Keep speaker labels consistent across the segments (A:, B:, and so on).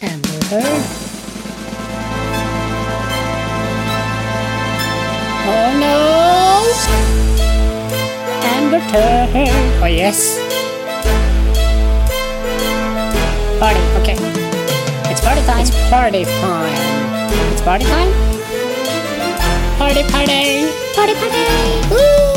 A: Hammerhøy. Oh no! Amber Turd. Oh yes. Party, okay. It's party time. It's party time. It's party time? Party, party! Party, party! Woo!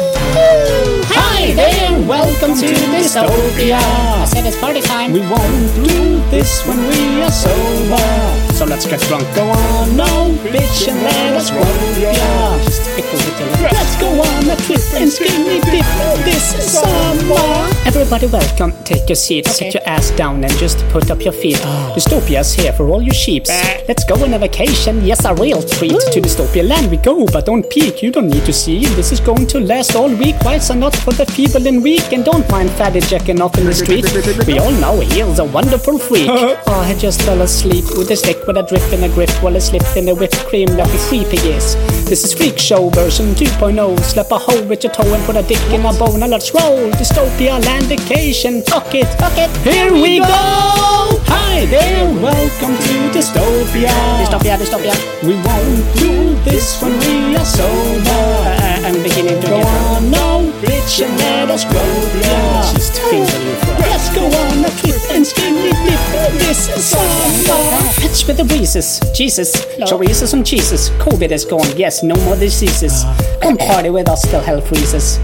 A: Hi there! Welcome to Dystopia! I said it's party time.
B: We won't do this when we are sober. So let's get drunk, go on, no bitch, and let us roll, yeah.
A: Just pickle with your lips.
B: Let's go on a trip and skinny dip this summer. Everybody welcome, take your seat,
A: Okay.
B: sit your ass down and just put up your feet. Dystopia's here for all you sheeps.
A: Bah.
B: Let's go on a vacation, yes, a real treat. To dystopia land we go, but don't peek, you don't need to see. This is going to last all week, rights are not for the feeble and weak. And don't mind fatty jacking off in the street. We all know he's a wonderful freak. oh, he just fell asleep with a stick with a drip and a grip while he slipped in the whipped cream like a creepy is. This is Freak Show version 2.0. Slap a hole with your toe and put a dick in a bone. Now let's roll. Dystopia land vacation. Fuck it.
A: Fuck it.
B: Here we go. Hi there. Welcome to Dystopia.
A: Dystopia, dystopia.
B: We won't do this when we are sober.
A: Uh, I'm beginning to
B: Go
A: get drunk.
B: on, no bitch, and let us roll, yeah.
A: Just finger you first.
B: Let's go on a trip and skinny dip this summer. Pitch with the breezes, Jesus, chorizos and cheeses. COVID is gone, yes, no more diseases. Come party with us till hell freezes.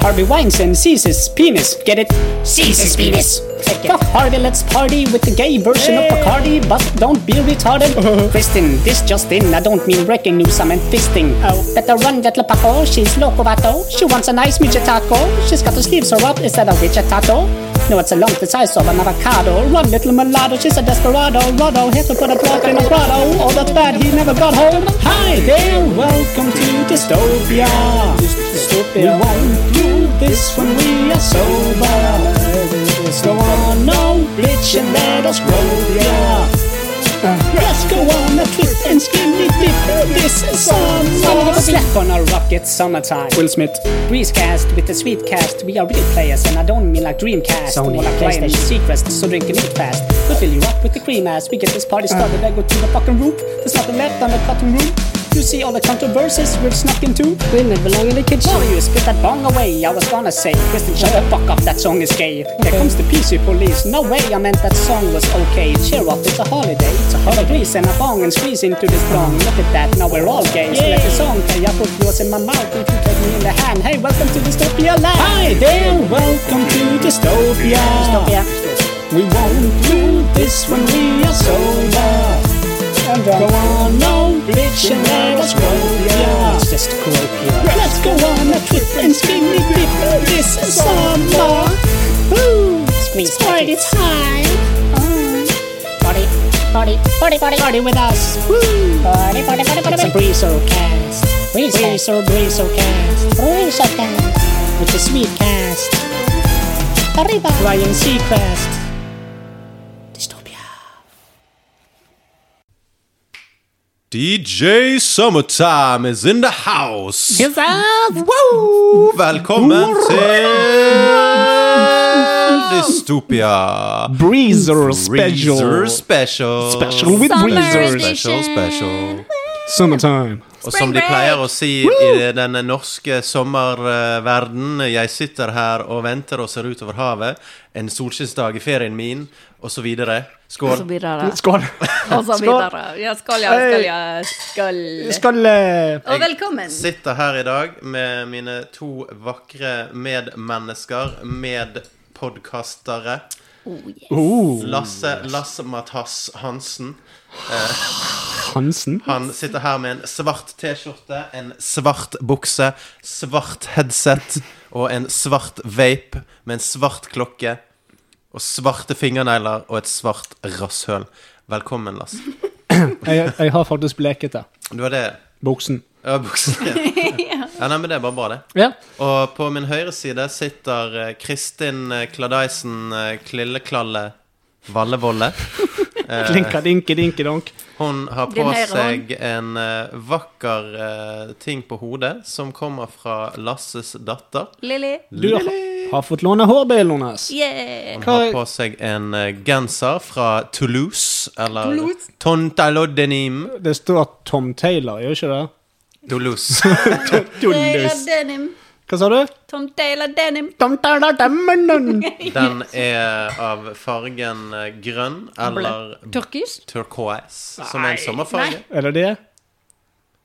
B: Harvey Weinstein seizes penis, get it? Seizes penis. Fuck Harvey, let's party with the gay version of Bacardi, but don't be retarded. Kristen, this just in, I don't mean wrecking news, I meant fisting.
A: Oh.
B: Better run, that Paco, she's loco vato. She wants a nice midget taco. She's got her sleeves her up instead of midget tato. No, it's a lump the size of an avocado. Run, little mulatto, she's a desperado. Rodo, here to put a block in a grotto. All that's bad, he never got home. Hi there, welcome to Dystopia.
A: Dystopia.
B: We won't do this when we are sober. So on, no, bitch, and let us roll, yeah. Let's go on a trip and skinny dip this summer. Slap on a rocket summertime. Will Smith. Breezecast with the sweet cast. We are real players and I don't mean like Dreamcast.
A: Sony,
B: More like Ryan and
A: PlayStation.
B: Seacrest, so drink and eat fast. We fill you up with the cream ass. We get this party started.
A: Uh.
B: I go to the fucking roof. There's nothing left on the cutting room. You see all the controversies we're snuck into?
A: We never belong in the kitchen.
B: Sorry, you spit that bong away. I was gonna say, Kristen, shut the fuck up, that song is gay. Here comes the PC police. No way, I meant that song was okay. Cheer up, it's a holiday. It's a holiday. And a bong and squeeze into this bong. Look at that, now we're all gay. So let the song play. I put yours in my mouth, if you take me in the hand. Hey, welcome to Dystopia Land. Hi there, welcome to Dystopia.
A: Dystopia.
B: We won't do this when we are sober.
A: I'm drunk.
B: Go on, no bitch, and let us roll, yeah.
A: It's just colloquial.
B: Let's go on a trip and skinny dip this summer. Woo!
A: Squeeze
B: It's party
A: buckets.
B: time.
A: Party, party, party, party, party.
B: Uh-huh. Party with us. Woo!
A: Party, party, party,
B: It's a
A: party, party.
B: breezo cast.
A: Breezo.
B: Breezo, breezo cast.
A: Breeze of dance.
B: With the sweet cast.
A: Arriba.
B: Ryan Seacrest.
A: Dystopia.
C: DJ Summertime is in the house!
B: Woo!
C: Velkommen til Dystopia!
D: Breezer
C: Breezer
D: special.
C: special.
D: Special with
E: Summer
D: breezers.
C: Special,
E: edition.
C: special.
D: Summertime.
C: Og som de
E: break.
C: pleier å si i den norske sommerverden Jeg sitter her og venter og ser utover havet. En solskinnsdag i ferien min, og så videre.
E: Og så
C: Skål.
E: videre.
D: Skål.
E: Og så videre. Ja, skål, ja. Skål, ja. Skål.
D: Skål. eh,
E: Og velkommen.
C: Sitter her i dag med mine to vakre medmennesker, medpodkastere.
D: Oh,
B: Uh.
C: Lasse Lasse Matas Hansen.
D: Hansen.
C: Han sitter her med en svart T-skjorte, en svart bukse, svart headset og en svart vape med en svart klokke og svarte fingernegler og et svart rasshøl. Velkommen, Lasse.
D: Jeg, jeg har faktisk bleket det.
C: Du har det
D: Buksen.
C: Ja, buksen. Ja, nei, men det er bare bra, det.
D: Ja.
C: Og på min høyre side sitter eh, Kristin eh, Kladeisen eh, Klilleklalle Vallevolle.
D: Klinka dinke dinke donk.
C: Hun har på
E: Din høyre hånd.
C: seg en eh, vakker eh, ting på hodet som kommer fra Lasses datter.
E: Lilly.
D: Du har,
B: Har fått låne hårbilen hennes.
E: Yeah.
C: Han har på seg en eh, genser fra Toulouse, eller
E: Toulouse?
C: Tontalodenim
B: Det står Tom Taylor, gjør ikke det?
C: Toulouse.
E: Taylor denim.
B: Hva sa du?
E: Tom Taylor denim.
B: Tom Taylor Demmonen!
C: Den er av fargen eh, grønn eller
E: Turkis.
C: turquoise, som er en sommerfarge.
B: Er det det?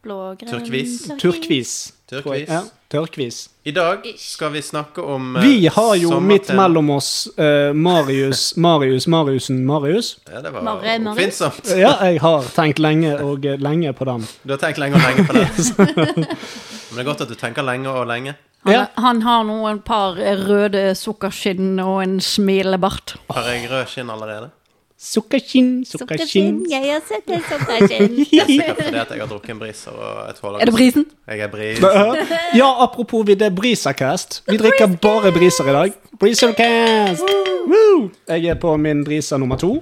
E: Blågrønn.
C: Turkvis.
B: Turkvis.
C: Turkvis.
B: tror jeg. Ja, turkvis.
C: I dag skal vi snakke om eh,
B: Vi har jo midt
C: sommertema.
B: mellom oss eh, Marius, Marius, Mariusen, Marius.
C: Ja, det var
E: Marre, Marre.
C: oppfinnsomt.
B: Ja, jeg har tenkt lenge og eh, lenge på den.
C: Du har tenkt lenge og lenge på det. Men det er godt at du tenker lenge og lenge.
E: Han,
B: Ja.
E: han har nå en par røde sukkerskinn og en smilebart.
C: Har jeg rød skinn allerede?
B: Sukkerskinn, sukkerskinn.
E: jeg har sett en sukkerskinn.
C: Det er fordi at jeg har drukket en briser og et hårlag.
E: Er det brisen?
C: Jeg er bris.
B: Ja, apropos vi, det er Brisercast. Vi drikker bare briser i dag. Brisercast! Woo! Jeg er på min briser nummer to.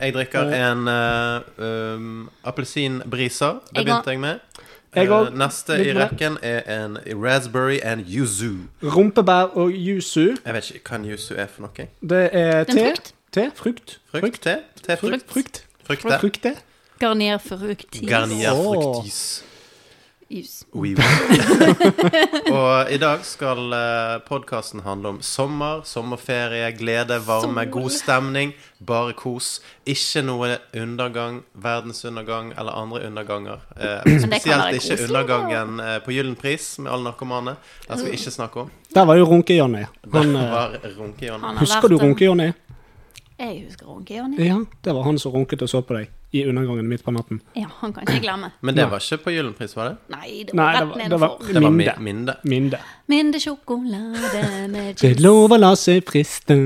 C: Jeg drikker en eh, um, appelsinbriser. Det
E: Jeg
C: begynte jeg med.
B: Jeg
C: Eh,
B: òg.
C: Neste i
B: Begynte med
C: rekken er en raspberry and yuzu.
B: Rumpebær og yuzu.
C: Jeg vet ikke hva en yuzu er for noe.
B: Det er
E: En
B: te.
E: frukt.
B: Te, frukt.
C: Frukt? Te? Tefrukt?
B: Frukt.
C: Frukt? te.
B: Frukt, det.
E: Garnier fructis.
C: Garnier
B: Åh.
C: fruktis.
E: Jus.
C: Oui, oui. Og i dag skal uh, podkasten handle om sommer, sommerferie, glede, varme,
E: Sol.
C: god stemning, bare kos. Ikke noe undergang, verdensundergang eller andre underganger. Eh,
E: det kan
C: spesielt
E: være
C: ikke
E: koselig, da.
C: undergangen eh, på Gyllen pris med alle narkomane. Den skal vi ikke snakke om.
B: Der var jo Runke-Johnny. Han,
C: Den
B: eh,
C: var runkejonnen.
E: Han har
B: Husker
E: vært
B: du
E: en-
B: Runke-Johnny?
E: Jeg husker runke, Jonny.
B: Ja, det var han som runket og så på deg i undergangen midt på natten.
E: Ja, han kan ikke glemme.
C: Men det var ikke på Gyllen pris, var det?
E: Nei, det
B: Nei, det
E: var rett
B: var, det var
E: nedenfor.
C: Det var
B: Minde.
C: mi- Minde.
B: Minde.
E: Mindre sjokolade med
B: Det er
E: chips.
B: lov å la seg friste.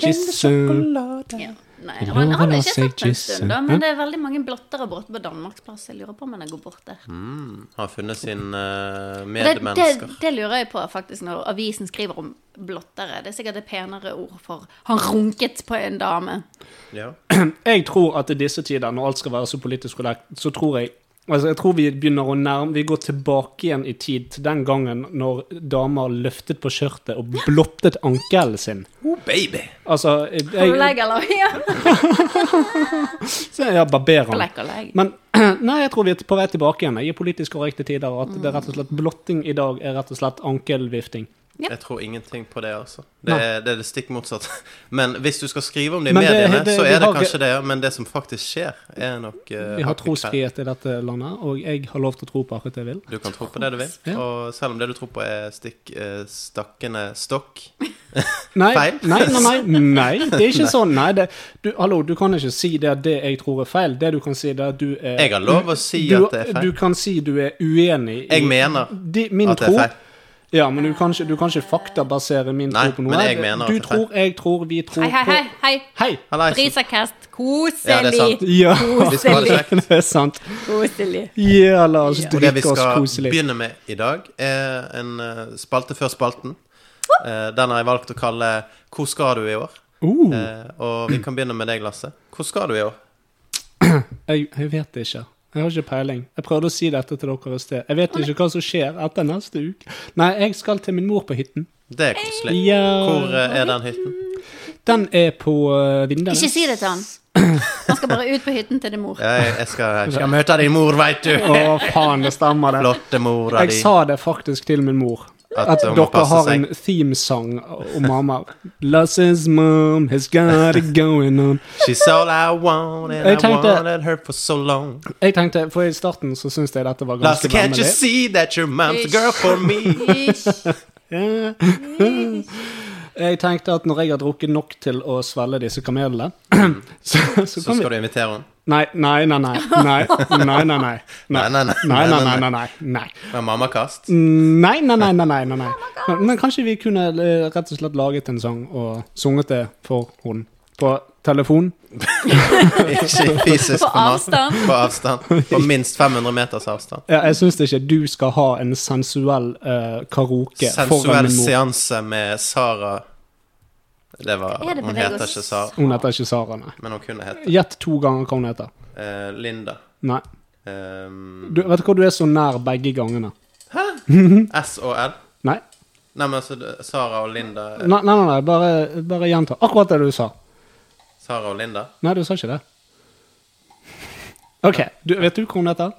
B: Gisse.
E: Ja. Nei,
B: Det er
E: han
B: lov å
E: hadde
B: la
E: ikke
B: seg
E: sett på en
B: kysse.
E: stund, da, men det er veldig mange blottere borte på Danmarksplass. Jeg lurer på om han går bort der.
C: Har funnet sin eh,
E: Det, det,
C: Mm. medmennesker.
E: det lurer jeg på faktisk når avisen skriver om blottere. Det er sikkert et penere ord for 'han runket på en dame'.
C: Ja.
B: Jeg tror at i disse tider, når alt skal være så politisk korrekt, så tror jeg Altså, jeg tror vi begynner å nærme Vi går tilbake igjen i tid til den gangen når damer løftet på skjørtet og blottet ankelen sin.
C: Oh, baby!
B: Altså
E: Har du
B: jeg,
E: legg, eller? Ja.
B: Så jeg barberer den.
E: Legg og legg.
B: Men nei, jeg tror vi er på vei tilbake igjen. Jeg er politisk korrekte tider, og at det er rett og slett blotting i dag er rett og slett ankelvifting.
E: Ja.
C: Jeg tror ingenting på det, altså. Det
B: Nei.
C: er det, er det stikk motsatte. Men hvis du skal skrive om det i
B: Men det-
C: mediene,
B: det-
C: så
B: vi
C: er det
B: har ikke-
C: kanskje det, ja. Men det som faktisk skjer, er nok eh,
B: Vi har
C: hakket kveld.
B: trosfrihet i dette landet, og jeg har lov til å tro på akkurat det jeg vil.
C: Du kan tro på det du vil,
B: Ja.
C: og selv om det du tror på er stikk eh, stakkende stokk
B: Nei,
C: Feil?
B: nei, nei, nei, nei, det er ikke sånn. Nei, det, du, hallo, du kan ikke si det at det jeg tror er feil. Det du kan si, det er at du er
C: Jeg har lov å si
B: du,
C: at det er feil.
B: Du kan si du er uenig i
C: Jeg mener
B: di, min
C: at det er
B: tro.
C: feil.
B: Ja, men du kan ikke, du kan ikke faktabasere min
C: Nei,
B: tro på noe.
C: men jeg mener at
B: du
C: det er feil.
B: tror, jeg tror, vi tror
E: Hei, hei, hei. hei.
B: på Hei!
C: Hallais.
E: Briserkast.
C: Ja, det er sant.
E: Koselig.
B: Ja,
C: Vi skal ha det kjekt.
B: det er sant.
E: Koselig.
B: Ja, la oss
C: Og det vi
B: drikke oss
C: skal
B: koselig.
C: begynne med i dag, er en eh, spalte før spalten. Eh, Den har jeg valgt å kalle 'Hvor skal du i år?'
B: Uh,
C: Eh, Og vi kan begynne med deg, Lasse. Hvor skal du i år?
B: jeg, jeg vet ikke. Jeg har ikke peiling. Jeg prøvde å si dette til dere i sted. Jeg vet ikke hva som skjer etter neste uke. Nei, jeg skal til min mor på hytten.
C: Det er koselig.
B: Ja.
C: Hvor eh, er den hytten?
B: Den er på uh, Vindenes.
E: Ikke si det til han. Han skal bare ut på hytten til din mor.
C: Jeg, jeg skal, jeg skal møte din mor, veit du.
B: Å, faen, det stemmer det.
C: Flotte mora
B: Jeg
C: di.
B: sa det faktisk til min mor.
C: At
B: At
C: hun må
B: dere
C: passe
B: har
C: seg.
B: en themesang om mamma. Lasses mom has got it going on.
C: She's all I wanted,
B: Jeg tenkte-
C: I wanted her for so long.
B: Jeg tenkte, for I starten så syntes jeg dette var
C: Lasse,
B: ganske
C: can't you
B: vemmelig.
C: see that your mom's a girl for me?
E: Hysj.
B: Jeg tenkte at når jeg har drukket nok til å svelge disse kamelene, så, så
C: Så
B: kan vi
C: skal du invitere henne.
B: Nei, nei, nei, nei. Nei, nei, nei. Nei,
C: Nei, nei, nei.
B: nei, nei, nei, nei, nei.
C: Med mammakast.
B: Nei, nei, nei, nei, nei, nei, nei. Men- Men kanskje vi kunne eh, rett og slett laget en sang og sunget det for hun på telefon?
C: Ikke i fysisk
E: På
C: format.
E: avstand.
C: På avstand. På minst 500 meters avstand.
B: Ja, jeg syns ikke du skal ha en sensuell eh, karaoke foran
C: Sensuell
B: min mor.
C: seanse med Sara Det
E: Er
C: var
E: det
C: Hun
E: beveger
C: heter
E: oss?
C: ikke Sara,
B: Hun heter ikke Sara, nei.
C: men hun kunne hete
B: Gjett to ganger hva hun heter.
C: eh, Linda.
B: Nei.
C: Um,
B: Du, vet du hva, du er så nær begge gangene.
C: SOL.
B: Nei.
C: Nei, men altså, det- Sara og Linda
B: Nei, nei, nei, nei bare, bare gjenta akkurat det du sa.
C: Sara og Linda?
B: Nei, du sa ikke det. OK. Du, vet du hvordan dette er?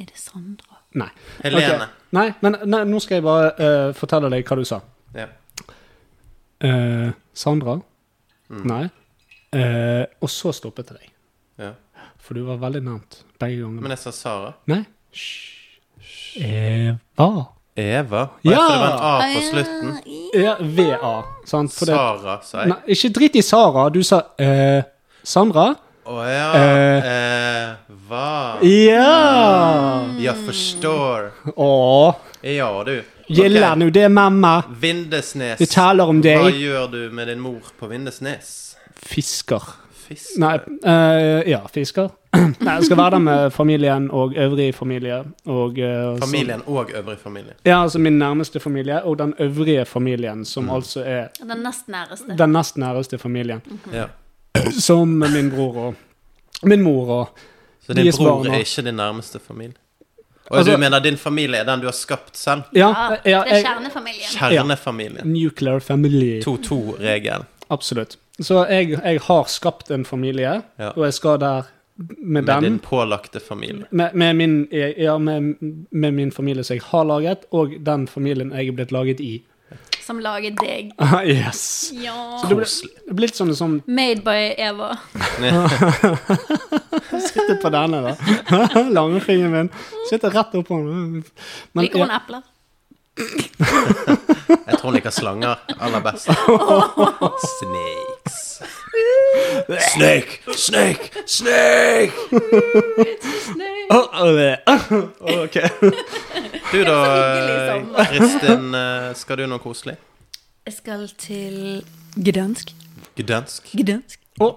E: Er det Sandra?
B: Nei.
C: Helene.
B: Ok. Nei, men nei, nå skal jeg bare eh, fortelle deg hva du sa.
C: Ja.
B: Eh, Sandra?
C: Mm.
B: Nei. Eh, og så stoppet jeg deg.
C: ja.
B: For du var veldig nærmt begge
C: Men
B: gangene.
C: jeg sa Sara.
B: Nei. Hysj. Eva.
C: Eva? Og
B: Ja!
C: jeg tror det var en
E: Ah,
C: A på slutten.
B: Ja, VA. Sant? For det,
C: Sara, sa jeg.
B: nei, ikke drit i Sara. Du sa eh, Sandra.
C: Å ja.
B: Eh.
C: Eva.
B: Ja!
C: Jeg forstår.
B: Å,
C: Ja, du.
B: gillar
C: Ok.
B: nu det mamma?
C: Vindesnes.
B: Vi taler om deg.
C: Hva gjør du med din mor på Vindesnes?
B: Fisker.
C: Fisk?
B: Nei, eh, ja, fisker. Nei, jeg skal være der med familien og øvrig familie. Og, eh, så-
C: Familien og øvrig familie.
B: Ja, altså min nærmeste familie og den øvrige familien, som
C: Mm.
B: altså er
E: Den nest næreste.
B: den nest næreste familien.
E: Mm.
C: Ja.
B: Som min bror og min mor og
C: Så din
B: Deres
C: bror
B: barn, da.
C: er ikke din nærmeste familie? Og
B: Altså-
C: du mener din familie er den du har skapt selv?
B: Ja,
E: Ja,
B: ja
E: det er
B: jeg,
E: kjernefamilien.
C: Kjernefamilien.
B: nuclear family.
C: 2-2-regel.
B: Absolutt. Så jeg, jeg har skapt en familie,
C: Ja.
B: og jeg skal der med,
C: Med
B: den.
C: din pålagte familie.
B: Med, med, min, ja, med, med min familie som jeg har laget, og den familien jeg er blitt laget i. Ah,
E: Som lager deg.
B: yes!
E: Ja.
B: Det ble, det ble litt sånn som
E: Made by Eva.
B: Sitter på denne, da. Langfingeren min. Sitter rett oppå den. Men,
E: Liker hun
B: ja,
E: epler?
C: Jeg tror hun liker slanger aller best. Snakes. Snake! Snake! Snake!
B: Åh, øh, øh, ok.
C: Du da,
E: hyggelig sommer.
C: Kristin, eh, skal du noe koselig?
E: Jeg skal til Gdansk.
C: Gdansk?
E: Gdansk.
B: Og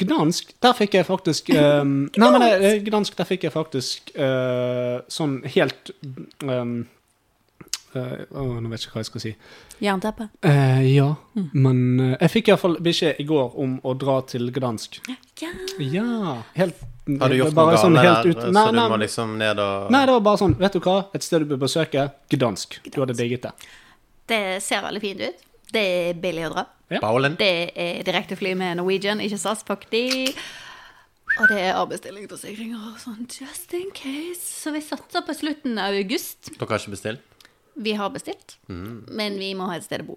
B: Gdansk, der fikk jeg faktisk ehm, Nei, men eh, Gdansk, der fikk jeg faktisk eh, sånn helt ehm, eh, åh, Nå vet jeg ikke hva jeg skal si.
E: Jernteppe.
B: Eh, ja, men eh, jeg fikk iallfall beskjed i går om å dra til Gdansk.
E: Ja.
B: Ja, helt
C: Har du gjort
B: bare
C: noe
B: sånn
C: galt
B: helt ut-
C: der, så
B: Nei,
C: du må
B: nei,
C: liksom ned og
B: nei, det var bare sånn Vet du hva? Et sted du bør besøke. Gdansk. Du hadde digget det.
E: Det ser veldig fint ut. Det er billig å dra.
C: Bowlen?
E: Det er direktefly med Norwegian, ikke SAS, fuck de. Og det er avbestilling på sikringer og sånn, just in case. Så vi satser på slutten av august.
C: Dere har ikke bestilt?
E: Vi har bestilt,
C: Mm.
E: men vi må ha et sted å bo.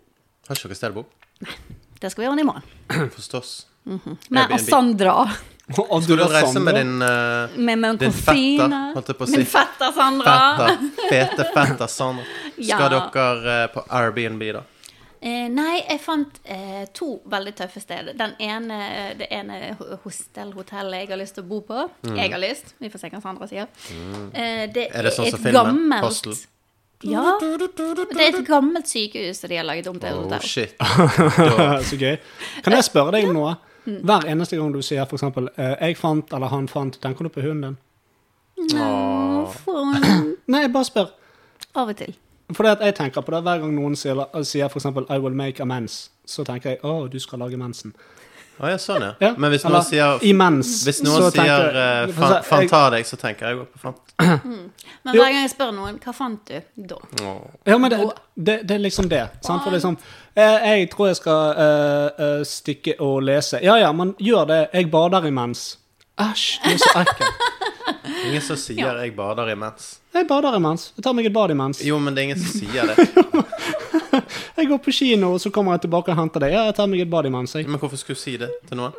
C: Har ikke dere sted å bo?
E: Det skal vi ordne i morgen.
B: Hm.
C: Forstås.
E: Med
C: Airbnb.
E: Sandra.
B: Og
C: Skal du reise
B: Sandra?
C: med din eh,
E: Med
C: Din
E: Mønkofine.
C: fetter, holdt jeg på å si.
E: Min fetter Sandra.
C: fetter, fete fetter Sandra? Skal
E: Ja.
C: dere eh, på Airbnb, da?
E: Eh, nei, jeg fant eh, to veldig tøffe steder. Den ene, det ene ho- hostel, hotellet jeg har lyst til å bo på.
B: Mm.
E: Jeg har lyst. Vi får se hva Sandra sier. Eh, det
C: Er det sånn som
E: et
C: filmen?
E: gammelt-
C: Hostel?
E: Ja. Det er et gammelt sykehus som de har laget om til
C: Oh,
E: hotell.
C: shit.
B: Så gøy. Kan jeg spørre deg om noe?
C: Mm.
B: Hver eneste gang du sier f.eks. 'jeg fant' eller 'han fant', tenker du på hunden din?
E: Nå får hun-
B: Nei, jeg bare spør.
E: Av og til.
B: Fordi at jeg tenker på det Hver gang noen sier, eh, sier f.eks. 'I will make amends', så tenker jeg 'Å, du skal lage mensen'.
C: Å ja, sånn, ja.
B: Ja,
C: Men hvis
B: eller,
C: noen sier
B: Imens.
C: Hvis noen
B: så tenker
C: sier
B: jeg-
C: eh,
B: for
C: fan,
B: eksempel,
C: fan
B: jeg-
C: ta deg, så tenker jeg også på fan.
E: Men
B: Jo.
E: hver gang jeg spør noen 'Hva fant du?' da
B: Ja, men det, det, det er liksom det. Sant? For liksom eh, Jeg tror jeg skal eh, eh, stikke og lese. Ja ja, men gjør det. Jeg bader imens. Æsj, du er så ekkel.
C: Ingen som sier 'jeg bader imens'.
B: Jeg bader imens. Jeg tar meg et bad imens.
C: Jo, men det er ingen som sier det.
B: Jeg går på kino, og så kommer jeg tilbake og henter deg. Ja, jeg tar meg et bad imens, jeg.
C: Men hvorfor skulle du si det til noen?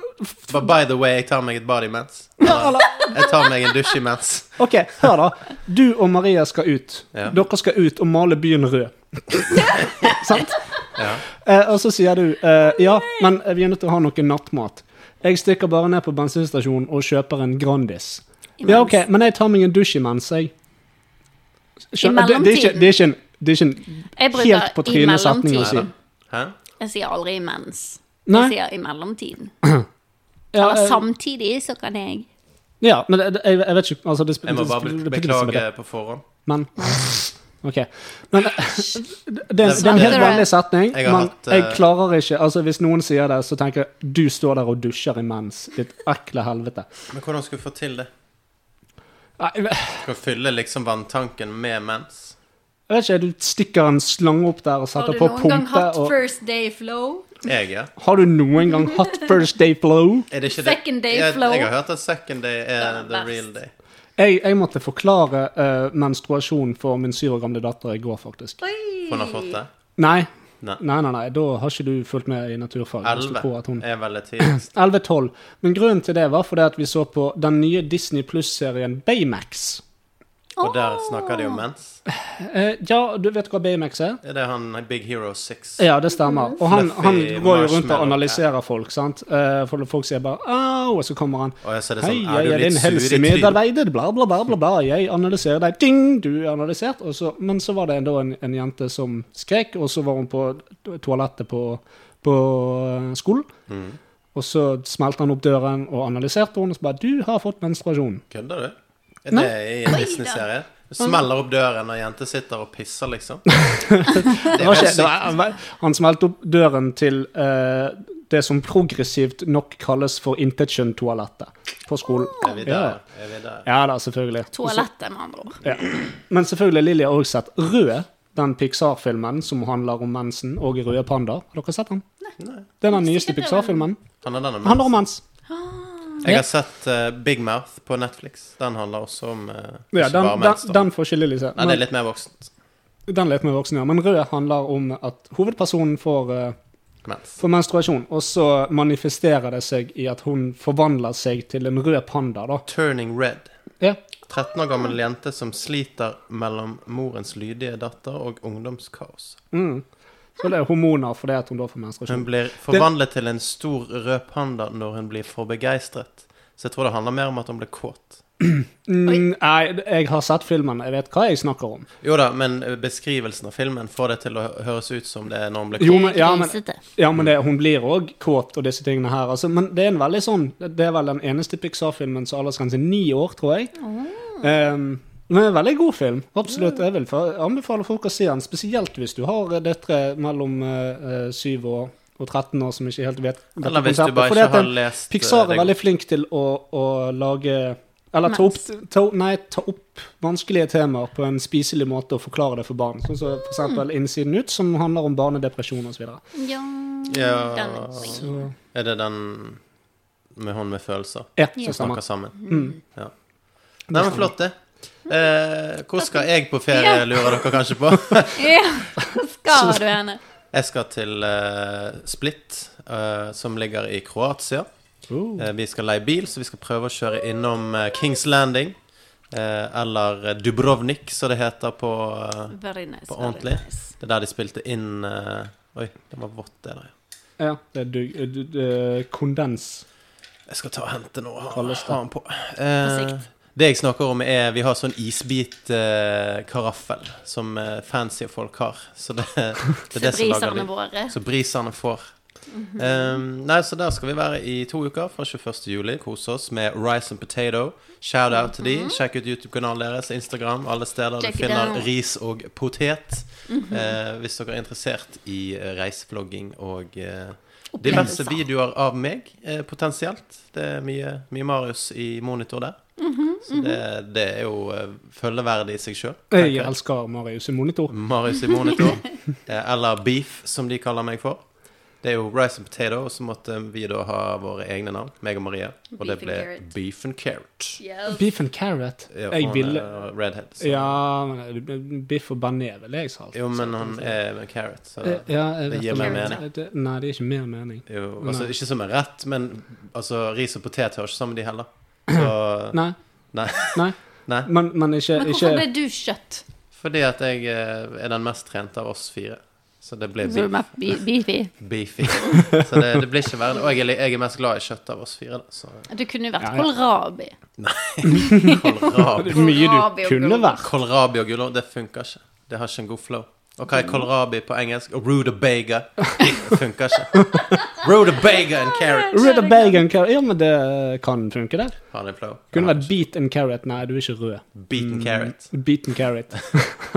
C: But by the way, jeg tar meg et bad imens.
B: Ja, eller,
C: Jeg tar meg en dusj imens.
B: ok, hør da. Du og Maria skal ut.
C: Ja.
B: Dere skal ut og male byen rød. Sant?
C: Ja.
B: Eh, og så sier du eh, ja, men vi er nødt til å ha noe nattmat. Jeg stikker bare ned på bensinstasjonen og kjøper en Grandis. Ja, ok, men jeg tar meg en dusj imens, jeg. Skjønner- det, det, er ikke, det er ikke en, det er ikke en
E: Jeg bruker
B: helt på
E: 'i
B: trynet setning å si.
E: mellomtiden'.
C: Hæ?
E: Jeg sier aldri 'imens'.
B: Nei.
E: Jeg sier 'i mellomtiden'.
B: Ja,
E: Eller
B: eh,
E: 'samtidig', så kan jeg
B: ja, men det- det- jeg, jeg vet ikke altså, det,
C: Jeg må bare
B: det- det- det- det- det-
C: be-
B: det- det-
C: beklage på forhånd.
B: Men OK. Men det, det, det er en helt vanlig setning,
C: Jeg har
B: men
C: hatt, eh,
B: jeg klarer ikke altså Hvis noen sier det, så tenker jeg du står der og dusjer imens. Ditt ekle helvete.
C: Men hvordan skal du få til det?
B: Nei,
C: Skal du fylle liksom vanntanken med mens?
B: eh, Jeg vet ikke, du stikker en slange opp der og
E: Har
B: setter
E: du
B: på
E: noen gang
B: pumpe.
E: hatt
B: Og...
E: first day flow?
C: Jeg, ja.
B: Har du noen gang hatt first day flow?
C: Er det ikke det?
E: Second day
C: jeg,
E: flow.
C: Jeg har hørt at second day er
E: Det er
C: the
E: best.
C: real day.
B: Jeg, jeg måtte forklare eh, menstruasjon for min syv år gamle datter i går, faktisk.
E: Oi!
C: Hun har fått det.
B: Nei.
C: Nei.
B: Nei, nei, nei, da har ikke du fulgt med i naturfag. hvis du tror at hun-
C: Elleve er veldig tidlig.
B: 11-12. Men grunnen til det var fordi at vi så på den nye Disney Plus-serien Baymax.
C: Og der snakker de om mens.
B: Eh, ja, du vet hva Baymax er?
C: Er det han Big Hero 6?
B: Ja, det stemmer. Og han, han
C: Fluffy
B: går jo rundt og
C: marshmallow.
B: analyserer folk, sant. Eh, for folk sier bare au, og så kommer han.
C: Og jeg ser det
B: Hei,
C: sånn, er
B: jeg
C: du
B: er din
C: litt sur i trynet?
B: helsemedarbeider, bla, bla, bla, bla, bla. Jeg analyserer deg. Ding, du er analysert. Og så, men så var det da en, en jente som skrek, og så var hun på toalettet på, på eh, skolen.
C: Mm.
B: Og så smelte han opp døren og analyserte henne, og så bare 'Du har fått menstruasjon'.
C: Kødder du? Er
B: Nei.
C: det i en Disney-serie? Du smeller opp døren, og jenter sitter og pisser, liksom.
B: Det var ikke, det var, han var- han smelte opp døren til eh, det som progressivt nok kalles for intetkjønn-toalettet på skolen.
C: Er vi
B: Ja,
C: Ah, der? Er vi der?
B: ja da, selvfølgelig. Og så-
E: Toalettet, med andre ord.
B: Ja. Men selvfølgelig, Lilly har også sett Rød, den Pixar-filmen som handler om mensen og røde pandaer. Har dere sett den?
C: Nei.
B: Det er den nyeste
E: Sikkert det,
B: Pixar-filmen.
C: Han er denne
B: Den handler om
C: mens.
B: mens.
C: Jeg har sett eh, Big Mouth på Netflix. Den handler også om eh,
B: Ja,
C: ikke
B: den,
C: bare mens.
B: den,
C: da.
B: den får ikke Lilly se.
C: Nei, det er
B: Men,
C: litt mer voksent.
B: den litt med voksne, ja. Men Rød handler om at hovedpersonen får, eh,
C: Mens.
B: får menstruasjon, og så manifesterer det seg i at hun forvandler seg til en rød panda, da.
C: Turning Red.
B: Ja.
C: 13 år gammel jente som sliter mellom morens lydige datter og ungdomskaos.
B: Mm. Så det er hormoner fordi at hun da får menstruasjon.
C: Hun blir forvandlet til en stor rød panda når hun blir for begeistret. Så jeg tror det handler mer om at hun blir kåt.
B: Mm, nei, jeg har sett filmen, jeg vet hva jeg snakker om.
C: Jo da, men eh, beskrivelsen av filmen får det til å hø- høres ut som det er når hun blir
B: Jo,
C: kåt.
B: men, ja, men,
E: Grisete.
B: ja, men det, hun blir òg kåt og disse tingene her. Altså, men det er en veldig sånn Det er vel den eneste Pixar-filmen som aldersgrense er ni år, tror jeg. Um, men en veldig god film. Absolutt. Jeg vil fa- anbefale folk å se den, spesielt hvis du har eh, døtre mellom 7 og, og 13 år som ikke helt vet dette
C: Eller hvis du
B: konseptet,
C: bare
B: fordi at
C: ikke har
B: den-
C: lest eh,
B: Pixar er
C: det-
B: veldig flink til å, å lage Eller ta opp,
E: Mens.
B: ta, nei, ta opp vanskelige temaer på en spiselig måte og forklare det for barn. Sånn som for eksempel Innsiden ut, som handler om barnedepresjon osv.
E: Ja,
C: Ja.
E: den er god.
B: Så
C: Er det den med hun med følelser?
B: ja,
E: Ja.
B: så
C: Snakker
B: stemmer.
C: sammen.
B: Mm.
C: Ja. Nei, men flott, det. Eh, hvor skal jeg på ferie,
E: Ja.
C: lurer dere kanskje på?
E: Ja, skal du henne?
C: Jeg skal til eh, Split, eh, som ligger i Kroatia.
B: Oh.
C: Eh, vi skal leie bil, så vi skal prøve å kjøre innom eh, Kings Landing. eh, eller eh, Dubrovnik, som det heter på eh,
E: Very nice.
C: På
E: very
C: ordentlig.
E: nice.
C: Det er der de spilte inn eh, Oi, det var vått, det der. ja.
B: Ja, det er du, du, du, kondens.
C: Jeg skal ta og hente noe. Ha,
B: Kalles det.
C: ha den på. Eh,
E: sikt.
C: det jeg snakker om, er Vi har sånn isbitkaraffel som eh, fancy folk har. Så det, det er det som lager
E: Febriserne
C: lyd.
E: våre.
C: Så brisene får. Eh, nei, så der skal vi være i to uker fra 21. juli. Kose oss med Rice and Potato. Shout-out til de. Sjekk ut YouTube-kanalen deres, Instagram, alle steder
E: Mhm. Check
C: du
E: it
C: finner
E: out. Mhm.
C: ris og potet. Eh, hvis dere er interessert i eh, reisevlogging og eh, diverse
E: Opplevelser.
C: videoer av meg, eh, potensielt. Det er mye, mye Marius i monitor der.
E: Mhm,
C: Så det, det er jo eh, følgeverdig i seg sjøl.
B: Jeg elsker Marius i monitor.
C: Marius i monitor. eh, Eller Beef, som de kaller meg for. Det er jo Rice and Potato, og så måtte vi da ha våre egne navn. meg og Maria. Og det
E: Beef and
C: ble
E: Carrot.
C: Beef and Carrot.
E: Yes.
B: Beef and carrot.
C: Ja,
B: jeg
C: han
B: ville
C: er redhead. så-
B: Ja, men biff og bearnés ville jeg sagt.
C: Jo, men han er en carrot, så
B: Eh, Ja, jeg
C: Det
B: vet
C: gir
B: det,
C: mer
B: men-
E: mening.
B: det- Nei, det gir ikke mer mening.
C: jo, altså,
B: Nei.
C: Ikke som er rett, men altså, ris og potet hører ikke sammen, de heller. Så
B: Nei.
C: Nei.
B: Nei.
C: Nei.
B: Men, men ikke,
E: Men
B: ikke
E: hvorfor ble du kjøtt?
C: Fordi at jeg eh, er den mest trente av oss fire. Så det blir
E: Så du
C: beef,
E: mer bi- beefy?
C: beefy. Så det, det blir ikke verre. Og jeg er, li- jeg er mest glad i kjøtt av oss fire, da. Så
E: Du kunne jo vært
B: Ja, ja.
E: kålrabi.
B: Det
C: kålrabi.
B: er mye du
E: Kålrabi og
B: kunne
E: gulrot.
B: vært.
C: Kålrabi og gulrot, det funker ikke. Det har ikke en god flow. Og hva er kålrabi på engelsk? Og rutabaga. Det funker ikke. Rutabaga and carrot.
B: Red and bag and carrot. Ja, men det eh, kan funke, det.
C: Har det en flow?
B: Kunne vært beat and carrot. Nei, du er ikke rød.
C: Beaten carrot.
B: Beat and carrot.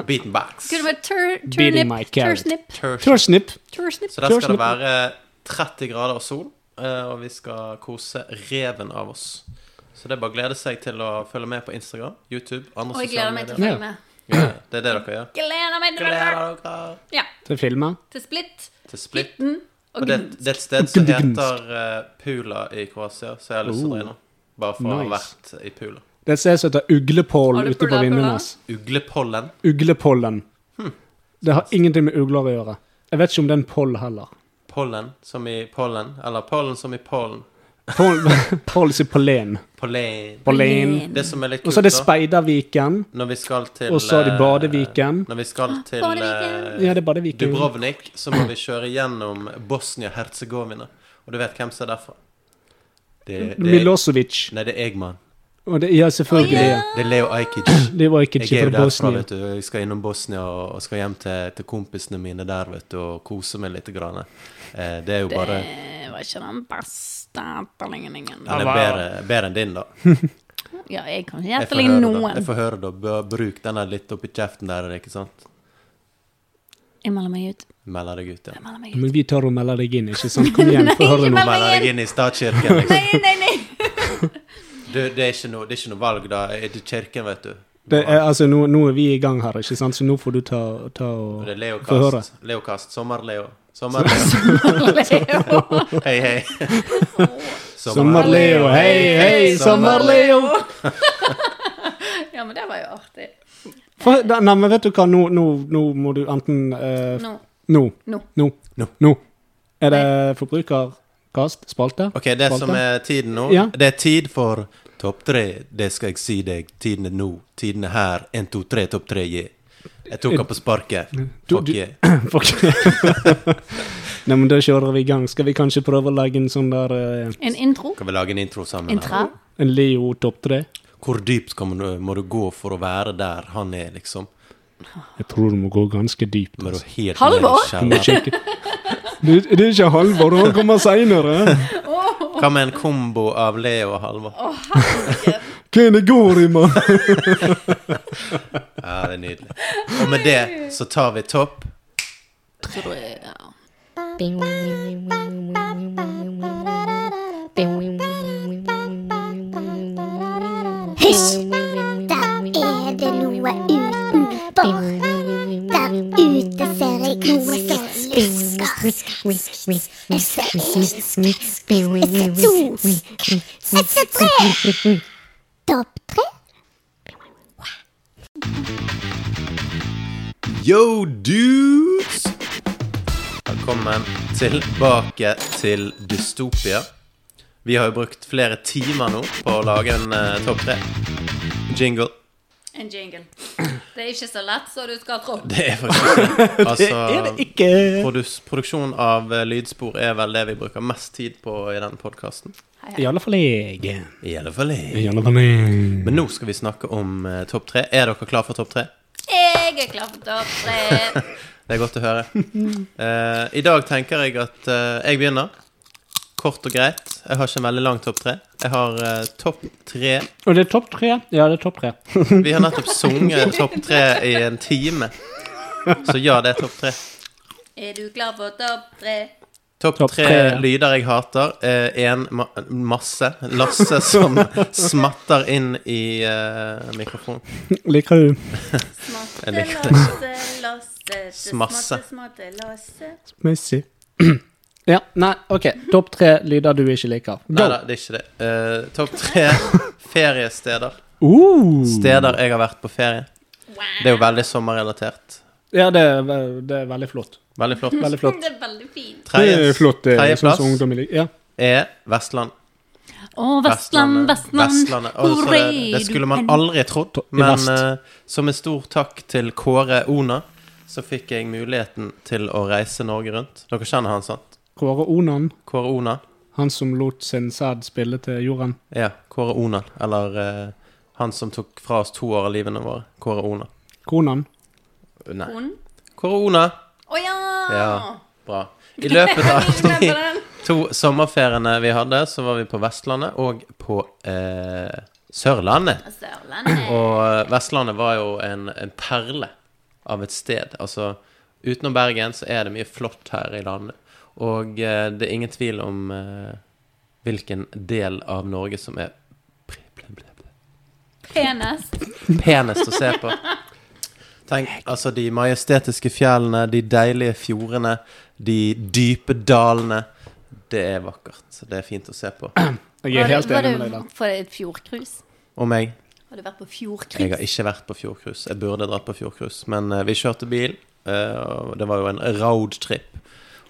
C: Beaten box.
E: Skulle vært tur,
B: Beating my
E: turnip,
B: carrot.
E: tursnip,
C: Turkey.
B: Torsnip.
E: tursnip.
C: Så der skal det være 30 grader og sol, eh, og vi skal kose reven av oss. Så det er bare å glede seg til å følge med på Instagram, YouTube, andre
E: Og
C: sosiale
E: jeg gleder meg til å
C: medier.
E: følge med.
C: Ja, det er det dere gjør.
E: Gleder meg til
C: Gleder dere
E: Ja,
B: til filmer.
E: til Split.
C: til Split.
E: Mm. Og
C: Og det,
E: Gud,
C: det er et sted som heter eh, Pula i Kroatia, så jeg har lyst til å dra innom. Bare for å ha
B: Oh. Nice.
C: vært i Pula.
B: Det er et sted som heter
E: Har
B: Uglepollen
E: du
B: ute på
E: pula,
B: vinduene
E: pula?
B: hans.
C: Uglepollen.
B: Uglepollen.
C: Hm.
B: Det har ingenting med ugler å gjøre. Jeg vet ikke om det er en poll heller.
C: Pollen som i pollen. Eller pollen som i pollen.
B: Poll, poll sier pollen.
C: Pollen.
B: Pollen.
E: Pollen.
C: Det som er litt
B: Og
C: kult,
B: så er det
C: da,
B: Speiderviken.
C: når vi skal til
B: og så er det
C: eh,
B: Badeviken.
C: Når vi skal til
E: Ah, Badeviken.
C: eh,
B: Ja, det er Badeviken.
C: Dubrovnik, så må vi kjøre gjennom Bosnia-Hercegovina. Og du vet hvem som er derfra? Det, det er,
B: Milosevic.
C: nei, det er Eggman.
B: Og det, ja,
E: Å,
B: selvfølgelig.
E: ja.
C: Det er Leo Ajkic.
B: Det var ikke
C: Jeg er
B: fra
C: jo derfra,
B: Bosnia.
C: vet du. Jeg skal innom Bosnia og og skal hjem til, til kompisene mine der, vet du, og kose meg litt. Grann. Eh, det er jo bare
E: Det var ikke den beste etterligningen.
C: Den er bedre, bedre enn din, da.
E: Ja, jeg kan ikke
C: Jeg får
E: etterligne
C: høre, da.
E: noen.
C: Jeg får høre, da. Bør- Bruk den der litt oppi kjeften der, ikke sant?
E: Jeg melder meg ut.
C: Melder deg ut, ja.
E: Jeg melder meg ut.
B: Men vi tør å melde deg inn, ikke sant? Kom igjen, få
E: Nei,
B: høre
E: ikke
B: noe.
E: meld-
C: Melder deg inn i statskirken. Liksom.
E: Nei, nei, nei.
C: Du, det, er ikke noe, det er ikke noe valg, da. Er du kirken, vet du.
B: Det er, altså, nå, nå er vi i gang her, ikke sant? Så nå får du ta, ta
C: Og
B: og
C: Det er Leo
B: få høre.
C: Kast. Leo Kast. Sommer-Leo. Sommer-Leo.
E: Leo.
C: Hei, hei.
B: Sommer-Leo, hei, hei, Sommer-Leo!
E: Ja, men det var jo artig.
B: For- da- Nei, men vet du hva, nå, nå, nå må du enten eh,
E: Nå.
B: Nå.
E: Nå.
B: Nå.
C: Nå.
B: Nå. Er det forbrukerkast? Spalte?
C: Ok, det
B: Spalte?
C: som er tiden nå,
B: Ja.
C: det er tid for topp tre. Det skal jeg si deg. Tiden er nå. Tiden er her. En, to, tre, topp tre, gi. Jeg tok han på sparket.
B: Du-
C: Fuck
B: du-
C: yeah.
B: Fuck. Nei, men da kjører vi i gang. Skal vi kanskje prøve å lage en sånn der eh,
E: En intro.
C: Skal vi lage en intro sammen?
E: Intra.
C: her?
B: En Leo topp tre?
C: Hvor dypt skal man, må du gå for å være der han er, liksom?
B: Jeg tror du må gå ganske dypt.
C: Må du
B: Altså.
C: helt
E: Halvor?
B: Du må
C: ned i kjelleren?
B: ikke- Du, det er ikke Halvor, han kommer seinere.
C: Hva med en kombo av Leo og Halvor?
B: Hva er det går i, mann?
C: Ja, det er nydelig. Og med det så tar vi topp.
F: Hysj! Der er det noe utenfor. Der ute ser jeg noe som lusker. Jeg ser én, jeg ser to, jeg ser tre. Topp tre.
C: Yo, dudes! Velkommen tilbake til Dystopia. Vi har jo brukt flere timer nå på å lage en eh, topp tre. Jingle.
E: En jingle. Det er ikke så lett som du skal tro.
C: Det er faktisk Altså,
B: Ikke
C: produs, produksjon av eh, lydspor er vel det vi bruker mest tid på i denne podkasten.
B: I alle fall jeg.
C: I alle fall jeg.
B: I alle fall jeg.
C: Men nå skal vi snakke om eh, topp tre. Er dere klar for topp tre?
E: Jeg er klar for topp tre.
C: Det er godt å høre. Eh, I dag tenker jeg at eh, jeg begynner. Kort og greit. Jeg har ikke en veldig lang topp tre. Jeg har eh, topp tre
B: Og det er topp tre. Ja, det er topp tre.
C: Vi har nettopp sunget topp tre i en time. Så ja, det er topp tre.
E: Er du klar for topp tre?
C: Topp
B: Topp
C: tre
B: tre.
C: lyder jeg hater. Én ma masse. Lasse som smatter inn i eh, mikrofonen.
B: Liker du
E: Smatte,
C: Jeg likte det.
E: lasse, lasse. det
C: Smasse.
E: Smatte, smatte, lasse.
B: Messi? Ja, nei, OK. Topp tre lyder du ikke liker.
C: Nei
B: Go!
C: da, det er ikke det. Eh, topp tre feriesteder.
B: Uh.
C: Steder jeg har vært på ferie. Det er jo veldig sommerrelatert.
B: Ja, det er, ve- det er veldig flott.
C: Veldig flott.
B: Veldig flott.
E: Det er veldig fint.
B: Det er flott, det er sånn
C: Tredjeplass
B: som ungdom liker. Ja.
C: er Vestland.
E: Å, Vestland, Vestland.
C: Vestlandet. Og så det, det skulle man aldri trodd,
B: I
C: men
B: vest.
C: eh, som en stor takk til Kåre Ona, så fikk jeg muligheten til å reise Norge rundt. Dere kjenner han, sant?
B: Kåre Onan,
C: Kåre Ona?
B: han som lot sin sæd spille til jorden.
C: Ja, Kåre Ona. Eller eh, han som tok fra oss to år av livene våre. Kåre Ona.
B: Konan.
C: Nei.
E: Hun?
C: Kåre Ona!
E: Å ja!
C: Ja. Bra. I løpet av
E: Jeg glemte
C: de
E: den.
C: to sommerferiene vi hadde, så var vi på Vestlandet og på eh, Sørlandet.
E: Sørlandet.
C: Og eh, Vestlandet var jo en, en perle av et sted. Altså, utenom Bergen så er det mye flott her i landet. Og eh, det er ingen tvil om eh, hvilken del av Norge som er pri- ble- ble- ble-
E: Penest.
C: penest å se på. Tenk, altså de majestetiske fjellene, de deilige fjordene, de dype dalene. Det er vakkert. Det er fint å se på.
B: Jeg er helt enig med deg
E: Var
B: der.
E: du for et fjordcruise?
C: Og meg.
E: Har du vært på
C: Jeg har
E: fjordcruise?
C: ikke vært på fjordcruise. Jeg burde dratt på fjordcruise, men eh, vi kjørte bil. eh, og det var jo en roadtrip.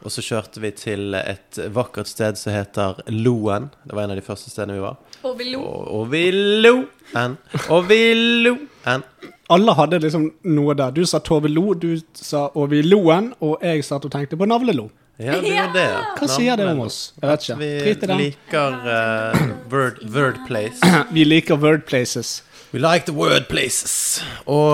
C: Og så kjørte vi til et vakkert sted som heter Loen. Det var en av de første stedene vi var.
E: Og vi lo.
C: Og, og vi lo en, og vi lo en.
B: Alle hadde liksom noe der. Du sa Tove Lo, du sa Ovi Loen, og jeg satt og tenkte på Navlelo.
C: Ja, det var det.
B: Hva sier det om oss? Jeg vet ikke. Drit i
C: Vi
B: den.
C: liker eh, word, word place.
B: Vi liker wordplaces.
C: We like the word places. Og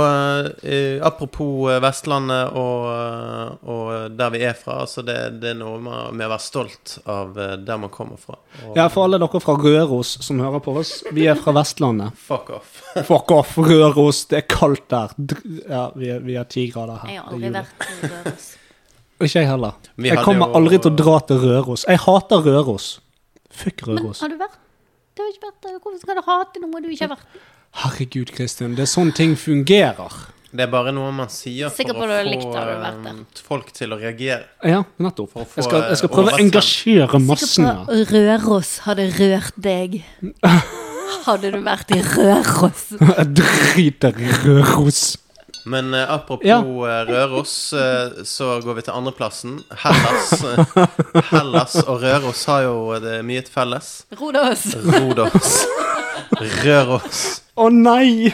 C: eh, apropos eh, Vestlandet og, eh, og der vi er fra, altså det, det er noe med, med å være stolt av eh, der man kommer fra. Og
B: Ja, for alle dere fra Røros som hører på oss, vi er fra Vestlandet.
C: fuck off.
B: Fuck off, Røros, det er kaldt der. Dr- Ja, vi er, vi er ti grader her.
E: Jeg har
B: Det er
E: aldri
B: jul.
E: vært på Røros.
B: Ikke jeg heller.
C: Vi
B: Jeg
C: hadde
B: kommer
C: jo-
B: aldri til å dra til Røros. Jeg hater Røros. Fuck
E: Men
B: Røros.
E: har du vært Du har ikke vært der. Hvorfor skal du hate noe du ikke har vært
B: Herregud, Kristin, det er sånn ting fungerer.
C: Det er bare noe man sier for
E: Sikker
C: å
E: på
C: få
E: du likte det hadde vært
C: eh, folk til å reagere.
B: Ja, nettopp.
C: For å få,
B: Jeg skal, jeg skal
C: eh,
B: prøve å
C: overraskende.
B: engasjere massene.
E: Sikker på Røros hadde rørt deg. Hadde du vært i Røros?
B: Jeg driter i Røros.
C: Men eh, apropos
B: Ja.
C: eh, Røros, eh, så går vi til andreplassen. Hellas. eh, Hellas og Røros har jo eh, det er mye til felles.
E: Rodos.
C: Rodos. Røros.
B: Å nei!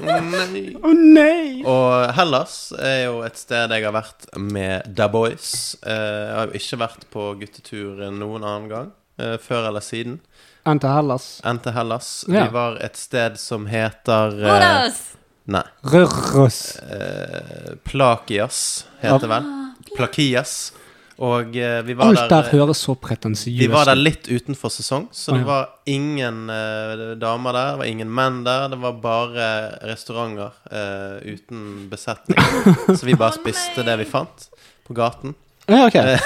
C: Nei.
B: Å nei!
C: Og Hellas er jo et sted jeg har vært med Da Boys. Eh, Jeg har jo ikke vært på guttetur noen annen gang. eh, Før eller siden.
B: Enn til Hellas.
C: Enn til Hellas.
B: Ja.
C: Vi var et sted som heter eh,
E: Rodos!
C: Nei.
B: Røros.
C: eh, Plakias, heter det vel. Plakias. Og eh, vi var
B: Alt der
C: der eh,
B: høres så
C: vi var
B: pretensiøst
C: der
B: ut.
C: litt utenfor sesong, så
B: Å,
C: det
B: ja.
C: var ingen eh, damer der, det var ingen menn der. Det var bare restauranter eh, uten besetning. Så vi bare spiste det vi fant på gaten.
B: Ja, ok.
C: eh,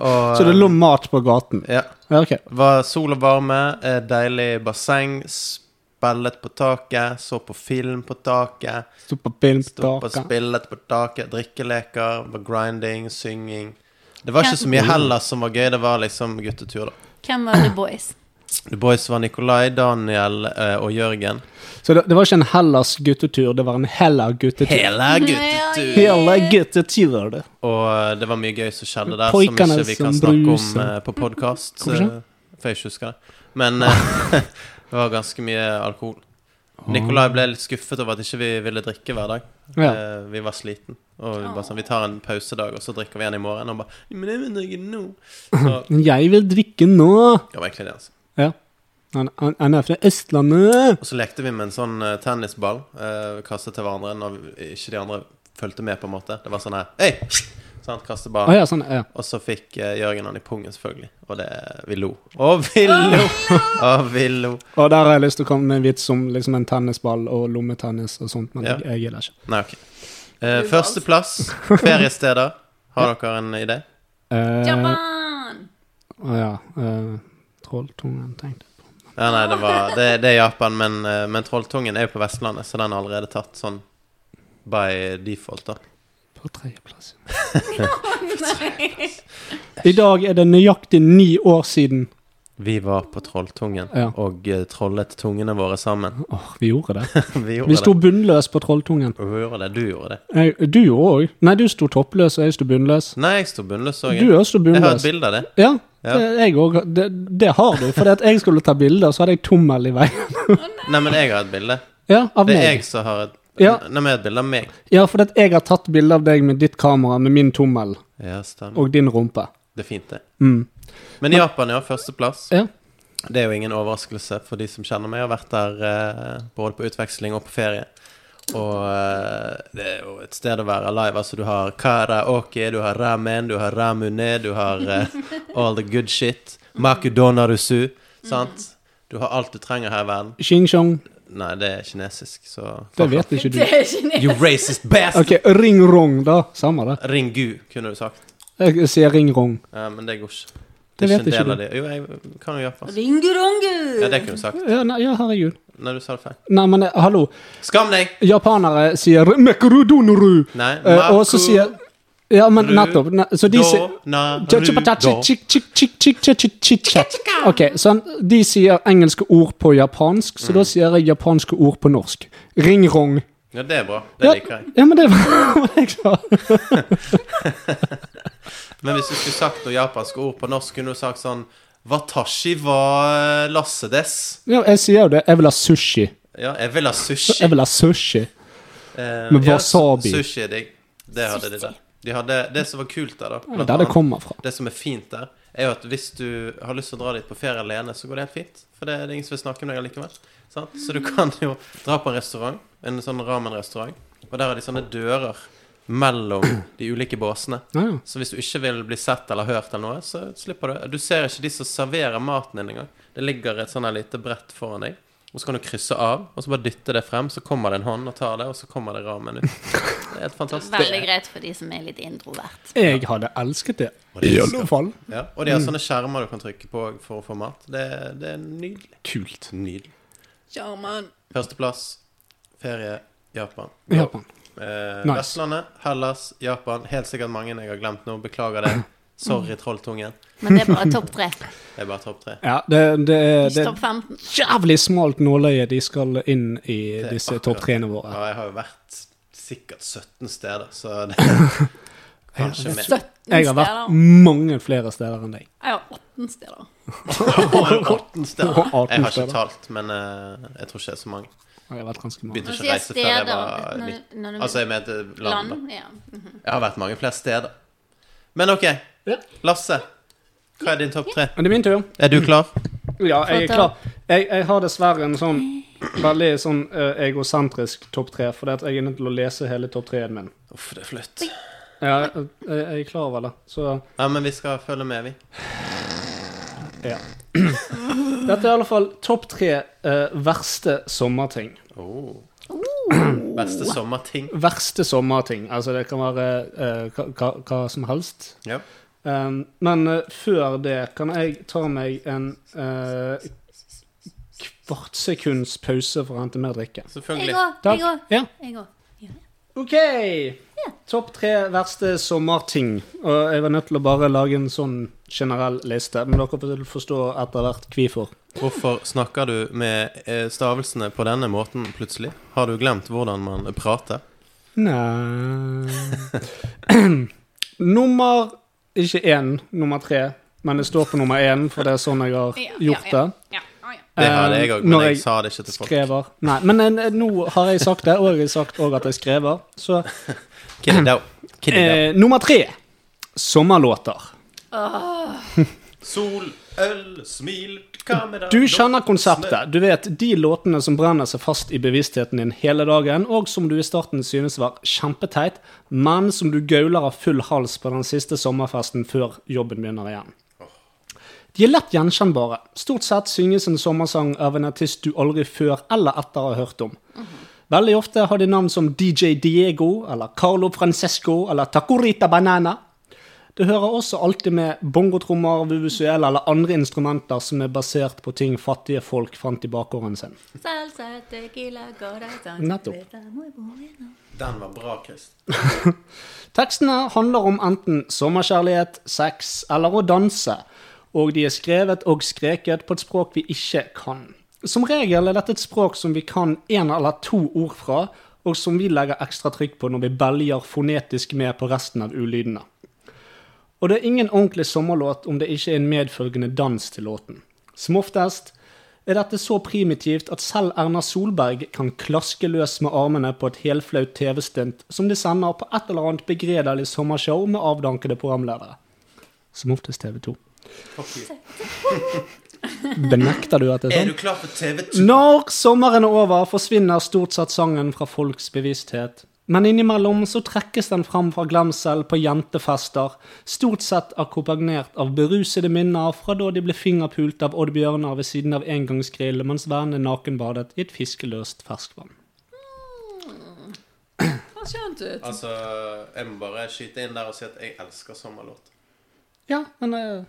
C: Og eh,
B: Så det lå mat på gaten.
C: ja,
B: Ja, ok.
C: det var sol og varme, eh, deilig basseng, spillet på taket, så på film på taket.
B: Sto på film
C: Sto
B: på
C: på
B: taket.
C: spillet på taket, drikkeleker, var grinding, synging. Det var ikke så mye heller som var gøy, det var liksom guttetur, da.
E: Hvem var The Boys?
C: The Boys var Nikolai, Daniel eh, og Jørgen.
B: Så det, det var ikke en Hellas guttetur, det var en Hella guttetur.
C: Hele guttetur!
B: Hella guttetur. det.
C: Mm. Og eh, det var mye gøy som skjedde der,
B: Poikene
C: som ikke vi kan
B: som
C: snakke om
B: bruser.
C: eh, på podkast.
B: Hvorfor ikke?
C: For jeg ikke husker det. Men eh, det var ganske mye alkohol. Nikolai ble litt skuffet over at ikke vi ville drikke hver dag.
B: Ja.
C: Eh, vi var sliten Og vi bare sånn, vi tar en pausedag, og så drikker vi igjen i morgen. Og han bare Men jeg vil drikke nå. Så
B: Jeg vil drikke nå.
C: det var egentlig det, altså.
B: Ja. Han, han, han er fra Østlandet.
C: Og så lekte vi med en sånn eh, tennisball, eh, kastet til hverandre når vi- ikke de andre fulgte med, på en måte. Det var sånn her Hei! Sånn, kaste
B: Å
C: ballen.
B: ja, sånn. Ja.
C: Og så fikk eh, Jørgen han i pungen, selvfølgelig. Og det Vi lo. Og vi lo! Og vi lo.
B: Og der har jeg lyst til å komme med en vits om liksom en tennisball og lommetennis og sånt, men
C: Ja.
B: jeg, jeg gidder ikke.
C: Nei, OK. Eh, Førsteplass, feriesteder. Har dere en idé?
B: Eh,
E: Japan!
B: å ja. eh, Trolltungen, tenkte jeg.
C: Ja, nei, det, var, det, det er Japan, men, eh, men Trolltungen er jo på Vestlandet, så den er allerede tatt sånn by default, da.
B: På tredjeplass. I dag er det nøyaktig ni år siden.
C: Vi var på Trolltungen
B: Ja.
C: og eh, trollet tungene våre sammen.
B: Åh, vi gjorde det.
C: Vi gjorde
B: Vi sto bunnløs på Trolltungen.
C: det. Vi gjorde det. Du gjorde det.
B: Jeg, du òg. Nei, du sto toppløs, og jeg sto bunnløs.
C: Nei, jeg sto bunnløs òg.
B: Du også sto
C: Jeg har et
B: bunnløs.
C: bilde av det.
B: Ja,
C: Ja.
B: det, jeg òg. Det, det har du. Fordi at jeg skulle ta bilder, så hadde jeg tommel i veien.
C: Nei, men jeg har et bilde.
B: Ja, av
C: Det er
B: meg.
C: jeg som har et
B: Ja.
C: Nei, men jeg har et bilde av meg.
B: Ja, fordi at jeg har tatt bilde av deg med ditt kamera, med min tommel
C: Ja, stemmer.
B: og din rumpe.
C: Det er fint, det. Men Japan er førsteplass.
B: Ja.
C: Det er jo ingen overraskelse for de som kjenner meg. Jeg har vært der eh, både på utveksling og på ferie. Og eh, det er jo et sted å være alive. Altså, du har karaoke, du har ramen, du har ramune, du har eh, all the good shit. Makudonarusu, sant? Du har alt du trenger her i verden.
B: Xing-xong.
C: Nei, det er kinesisk, så
B: Det vet ikke du.
E: Det er kinesisk.
C: You racist bastard!
B: Ok, ring-rong, da. Samme det.
C: Ringu, kunne du sagt.
B: Jeg sier ring-rong.
C: Ja, men det går ikke.
B: Det
C: er
B: vet
C: en
B: ikke
C: del
B: du.
C: av det. Jo, jeg kan jo japansk.
E: Ringurungu!
C: Ja, det kunne du sagt.
B: Ja, nei, ja herregud.
C: Nei, du sa det feil.
B: Nei, men eh, hallo.
C: Skam deg!
B: Japanere sier 'mekurudonuru',
C: Nei,
B: eh, og så sier Ja, men
C: Ru-
B: nettopp. Ne, så de
C: Da-
B: sier
C: na-
B: Tja,
C: ru-
B: tja, pata,
C: da.
B: tjik, tjik, tjik, tjik, tjik, tjik, tjik, tjik. Ok, sånn, De sier engelske ord på japansk, så da sier jeg japanske ord på norsk. Ringrong.
C: Ja, det er bra. Det
B: Ja,
C: liker jeg.
B: ja, men det var det jeg sa.
C: Men hvis du skulle sagt noe japansk ord på norsk, kunne du sagt sånn Watashi var lassedes.
B: Ja, jeg sier jo det. Jeg vil ha sushi.
C: Ja, jeg vil ha sushi.
B: Jeg vil ha sushi.
C: Eh,
B: Med
C: ja, su-
B: wasabi.
C: sushi er digg. Det hadde de der. De hadde det som var kult der, da. blant
B: Der det
C: annet,
B: kommer fra.
C: det som er fint der, er jo at hvis du har lyst til å dra dit på ferie alene, så går det helt fint. For det er det ingen som vil snakke med deg allikevel. Sant? Så du kan jo dra på en restaurant, en sånn ramen-restaurant, og der har de sånne dører mellom de ulike båsene.
B: Ja, ja.
C: Så hvis du ikke vil bli sett eller hørt eller noe, så slipper du. Du ser ikke de som serverer maten din engang. Det ligger et sånn her lite brett foran deg, og så kan du krysse av, og så bare dytte det frem, så kommer det en hånd og tar det, og så kommer det ramen ut. Det er helt fantastisk.
E: Veldig greit for de som er litt introvert.
B: Jeg hadde elsket det. I alle fall.
C: Ja, og de har sånne skjermer du kan trykke på for å få mat. Det, det er nydelig. Kult. Nydelig.
E: Sjarmen.
C: Førsteplass, ferie, Japan.
B: I Japan.
C: Eh,
B: Nice.
C: Vestlandet, Hellas, Japan. Helt sikkert mange jeg har glemt nå. Beklager det. Sorry, trolltungen.
E: Men det er bare topp tre.
C: Det er bare topp tre.
B: Ja, det, det, det
E: Ikke topp 15.
B: jævlig smalt nåløye de skal inn i disse
C: akkurat
B: topp tre-ene våre.
C: Ja, jeg har jo vært sikkert 17 steder, så det Kanskje mer.
B: Jeg har vært mange flere steder enn deg.
E: Jeg har 18 steder.
C: 18 steder.
B: Og 18
C: Jeg har ikke
B: steder.
C: talt, men eh, jeg tror ikke det er så mange.
B: Jeg har vært ganske mange.
C: Begynte
E: Når
C: ikke
E: du
C: å
E: sier
C: reise før jeg var
E: steder,
C: 19.
E: når du-
C: Altså, jeg mente land. da.
E: Land. Ja.
C: Jeg har vært mange flere steder. Men OK.
B: Ja.
C: Lasse, hva er din topp tre?
B: Men det er min tur.
C: Er du klar?
B: Ja, jeg er
E: ta-
B: klar. Jeg, jeg har dessverre en sånn veldig sånn eh, egosentrisk topp tre, for det at jeg er nødt til å lese hele topp tre-en min.
C: Uff, det er flaut.
B: Ja, jeg, jeg er klar over det. Så
C: Ja, men vi skal følge med, vi.
B: ja. Dette er i alle fall topp tre eh, verste sommerting.
C: Oh. Beste sommerting.
B: Verste sommerting. Altså, det kan være eh, hva, hva- hva som helst.
C: Ja.
B: Um, men eh, før det kan jeg ta meg en uh, kvartsekunds pause for å hente mer drikke.
E: Jeg
C: Selvfølgelig.
E: òg.
B: Takk.
E: Jeg òg.
B: Ja.
E: Jeg òg.
B: OK! Topp tre verste sommerting. Og jeg var nødt til å bare lage en sånn generell liste, men dere vil forstå etter hvert hvorfor.
C: Hvorfor snakker du med eh, stavelsene på denne måten plutselig? Har du glemt hvordan man prater?
B: Nei Nummer Ikke én, nummer tre, men det står på nummer én, for det er sånn jeg har
E: Ja,
B: gjort det.
E: ja, ja. Ja, ja.
C: Det hadde jeg
B: Eh,
C: òg, men
B: når
C: jeg
B: jeg
C: sa det ikke til folk.
B: Skrever. Nei, men eh, nå har jeg sagt det, og jeg har sagt òg at jeg skrever. Så
C: Kid it out. Kid it out.
B: eh, nummer tre sommerlåter.
C: Sol, øl, smil, kamera
B: Du kjenner konseptet. Du vet de låtene som brenner seg fast i bevisstheten din hele dagen, og som du i starten synes var kjempeteit, men som du gauler av full hals på den siste sommerfesten før jobben begynner igjen. De er lett gjenkjennbare. Stort sett synges en sommersang av en artist du aldri før eller etter har hørt om. Veldig ofte har de navn som DJ Diego, eller Carlo Francesco, eller Tacorita Banana. Det hører også alltid med bongotrommer, vuvuzuela eller andre instrumenter som er basert på ting fattige folk fant i bakgården sin.
E: Salsa, tequila, sånn. corazón,
B: Nettopp.
E: cerveza, muy bueno.
C: Den var bra, Chris.
B: Tekstene handler om enten sommerkjærlighet, sex eller å danse, og de er skrevet og skreket på et språk vi ikke kan. Som regel er dette et språk som vi kan én eller to ord fra, og som vi legger ekstra trykk på når vi belger fonetisk med på resten av ulydene. Og det er ingen ordentlig sommerlåt om det ikke er en medfølgende dans til låten. Som oftest er dette så primitivt at selv Erna Solberg kan klaske løs med armene på et helflaut TV-stunt som de sender på et eller annet begredelig sommershow med avdankede programledere. Som oftest TV 2. Benekter du at det er
C: Er
B: sånn?
C: du klar for TV2?
B: Når sommeren er over, forsvinner stort sett sangen fra folks bevissthet. Men innimellom så trekkes den fram fra glemsel på jentefester, stort sett akkompagnert av berusede minner fra da de ble fingerpult av Odd Bjørnar ved siden av engangsgrill mens vennene nakenbadet i et fiskeløst ferskvann.
E: Hva skjønt ut?
C: Altså, jeg må bare skyte inn der og si at jeg elsker sommerlåt.
B: Ja, men eh,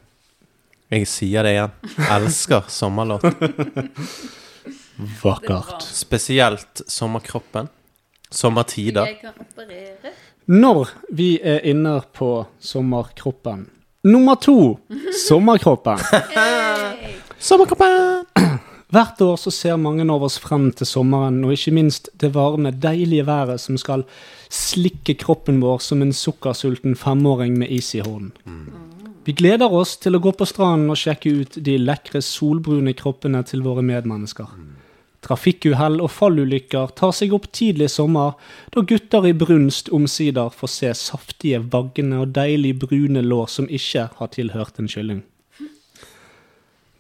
C: Jeg sier det igjen. Elsker sommerlåt.
B: Vakkert.
C: Spesielt sommerkroppen. Sommertider.
E: Jeg kan operere.
B: Når vi er inne på sommerkroppen Nummer to sommerkroppen.
C: Sommerkroppen!
B: Hvert år så ser mange av oss frem til sommeren, og ikke minst det varme, deilige været som skal slikke kroppen vår som en sukkersulten femåring med is i hånden. Vi gleder oss til å gå på stranden og sjekke ut de lekre, solbrune kroppene til våre medmennesker. Trafikkuhell og fallulykker tar seg opp tidlig i sommer, da gutter i brunst omsider får se saftige, vaggende og deilig brune lår som ikke har tilhørt en kylling.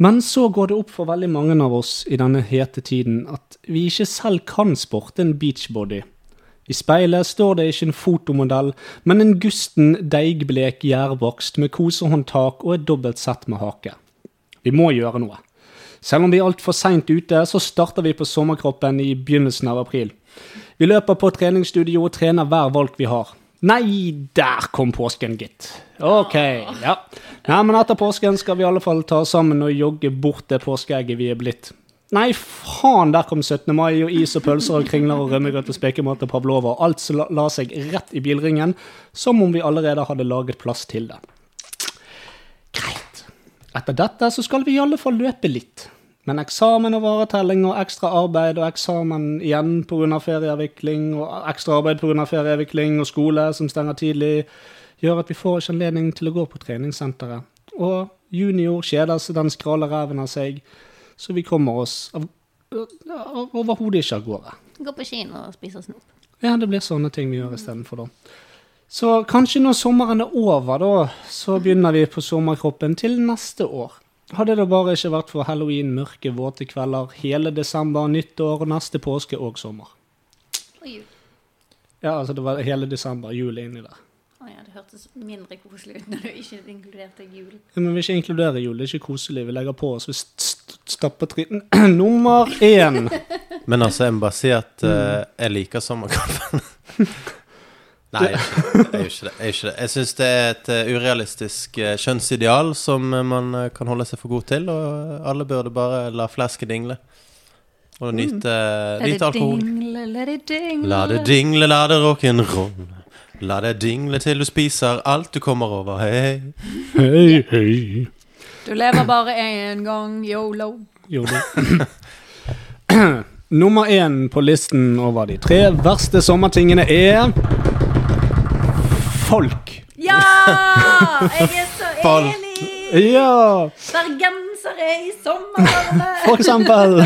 B: Men så går det opp for veldig mange av oss i denne hete tiden at vi ikke selv kan sporte en beachbody. I speilet står det ikke en fotomodell, men en gusten, deigblek gjærvokst med kosehåndtak og et dobbelt sett med hake. Vi må gjøre noe. Selv om vi er altfor seint ute, så starter vi på sommerkroppen i begynnelsen av april. Vi løper på treningsstudio og trener hver valg vi har. Nei, der kom påsken, gitt. Ok, ja. Nei, men etter påsken skal vi i alle fall ta oss sammen og jogge bort det påskeegget vi er blitt. Nei, faen, der kom 17. mai og is og pølser og kringler og rømmegrøt og spekemat og pavlova. Alt som la- la seg rett i bilringen, som om vi allerede hadde laget plass til det. Greit. Etter dette så skal vi i alle fall løpe litt. Men eksamen og varetelling og ekstra arbeid og eksamen igjen pga. ferieavvikling og ekstra arbeid pga. ferieavvikling og skole som stenger tidlig, gjør at vi får ikke anledning til å gå på treningssenteret. Og junior kjeder seg, den skraler ræven av seg, så vi kommer oss av, av, overhodet ikke av gårde.
E: Gå på kino og spise snop.
B: Ja, det blir sånne ting vi gjør istedenfor, da. Så kanskje når sommeren er over, da, så begynner vi på sommerkroppen til neste år. Hadde det bare ikke vært for halloween, mørke, våte kvelder, hele desember, nyttår, neste påske og sommer.
E: Og jul.
B: Ja, altså det var hele desember, jul er inni der.
E: Å ja, det hørtes mindre koselig ut når du ikke inkluderte jul.
B: Ja, Men vi vil ikke inkludere jul, det er ikke koselig. Vi legger på oss vi st- st- stapper tritten Nummer én!
C: Men altså, jeg må bare si at eh, jeg liker sommerkampen. Nei, jeg gjør ikke det. Jeg, gjør ikke det. jeg, gjør ikke det. jeg syns det er et eh, urealistisk eh, kjønnsideal som eh, man eh, kan holde seg for god til, og eh, alle burde bare la flasken dingle. Og nyte, nyte alkohol.
E: dingle, let it dingle.
C: La det dingle, la det rock'n'roll. La det dingle til du spiser alt du kommer over. Hei, hei.
B: Hei, hei.
E: Du lever bare én gang, yolo.
B: Jo, det. Nummer én på listen over de tre verste sommertingene er Folk.
E: Ja! Jeg er så
C: Fall.
E: enig!
B: Ja,
E: Bergensere i sommervarme!
B: for eksempel.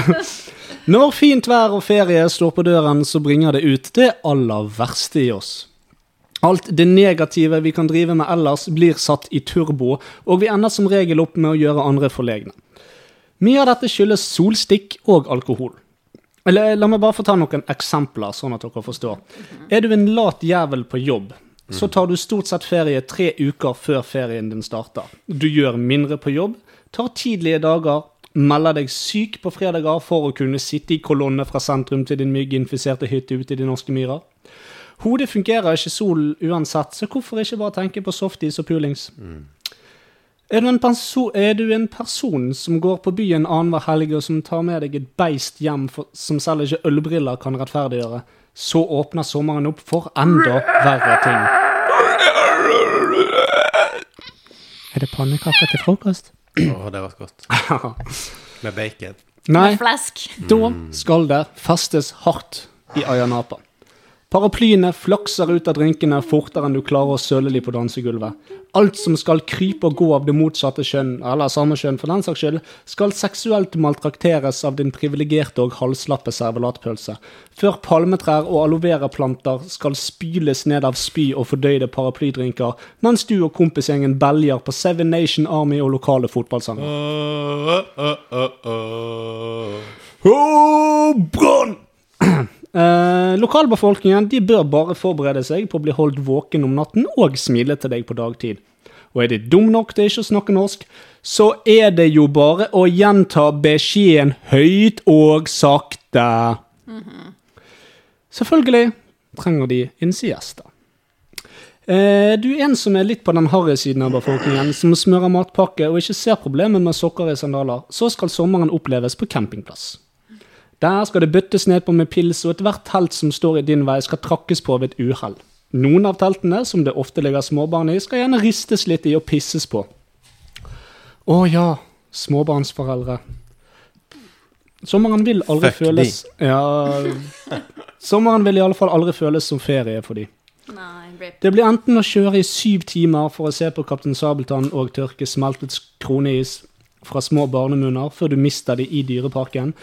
B: Når fint vær og ferie står på døren, så bringer det ut det aller verste i oss. Alt det negative vi kan drive med ellers, blir satt i turbo, og vi ender som regel opp med å gjøre andre forlegne. Mye av dette skyldes solstikk og alkohol. Eller la meg bare få ta noen eksempler, sånn at dere forstår. Er du en lat jævel på jobb, så tar du stort sett ferie tre uker før ferien din starter. Du gjør mindre på jobb, tar tidlige dager, melder deg syk på fredager for å kunne sitte i kolonne fra sentrum til din mygginfiserte hytte ute i de norske myrer. Hodet fungerer ikke solen uansett, så hvorfor ikke bare tenke på softis og pulings? Er, du en perso er du en person som går på byen annenhver helg og som tar med deg et beist hjem for, som selv ikke ølbriller kan rettferdiggjøre, så åpner sommeren opp for enda verre ting. Er det pannekaker til frokost?
C: Åh, det var godt. Med bacon.
B: Nei.
E: Flesk.
B: Da skal det festes hardt i Ayanapa. Paraplyene flakser ut av drinkene fortere enn du klarer å søle de på dansegulvet. Alt som skal krype og gå av det motsatte kjønn, eller samme kjønn for den saks skyld, skal seksuelt maltrakteres av din privilegerte og halslappe servelatpølse, før palmetrær og aloe vera-planter skal spyles ned av spy og fordøyde paraplydrinker, mens du og kompisgjengen belger på Seven Nation Army og lokale fotballsanger.
C: Åh, åh, åh, åh.
B: Brann! Eh, lokalbefolkningen de bør bare forberede seg på å bli holdt våken om natten og smile til deg på dagtid. Og er de dum nok til ikke å snakke norsk, så er det jo bare å gjenta beskjeden høyt og sakte. Selvfølgelig trenger de en siesta. Eh, du er en som er litt på den harry siden av befolkningen, som smører matpakke og ikke ser problemet med sokker i sandaler. Så skal sommeren oppleves på campingplass. Der skal det bøttes ned på med pils, og ethvert telt som står i din vei, skal trakkes på ved et uhell. Noen av teltene, som det ofte ligger småbarn i, skal gjerne ristes litt i og pisses på. Å ja, småbarnsforeldre. Sommeren vil aldri
C: Fuck de.
B: føles Ja Sommeren vil i alle fall aldri føles som ferie for de.
E: Nei, rip.
B: Det blir enten å kjøre i syv timer for å se på Kaptein Sabeltann og tørke smeltet kroneis fra små barnemunner før du mister de i dyreparken,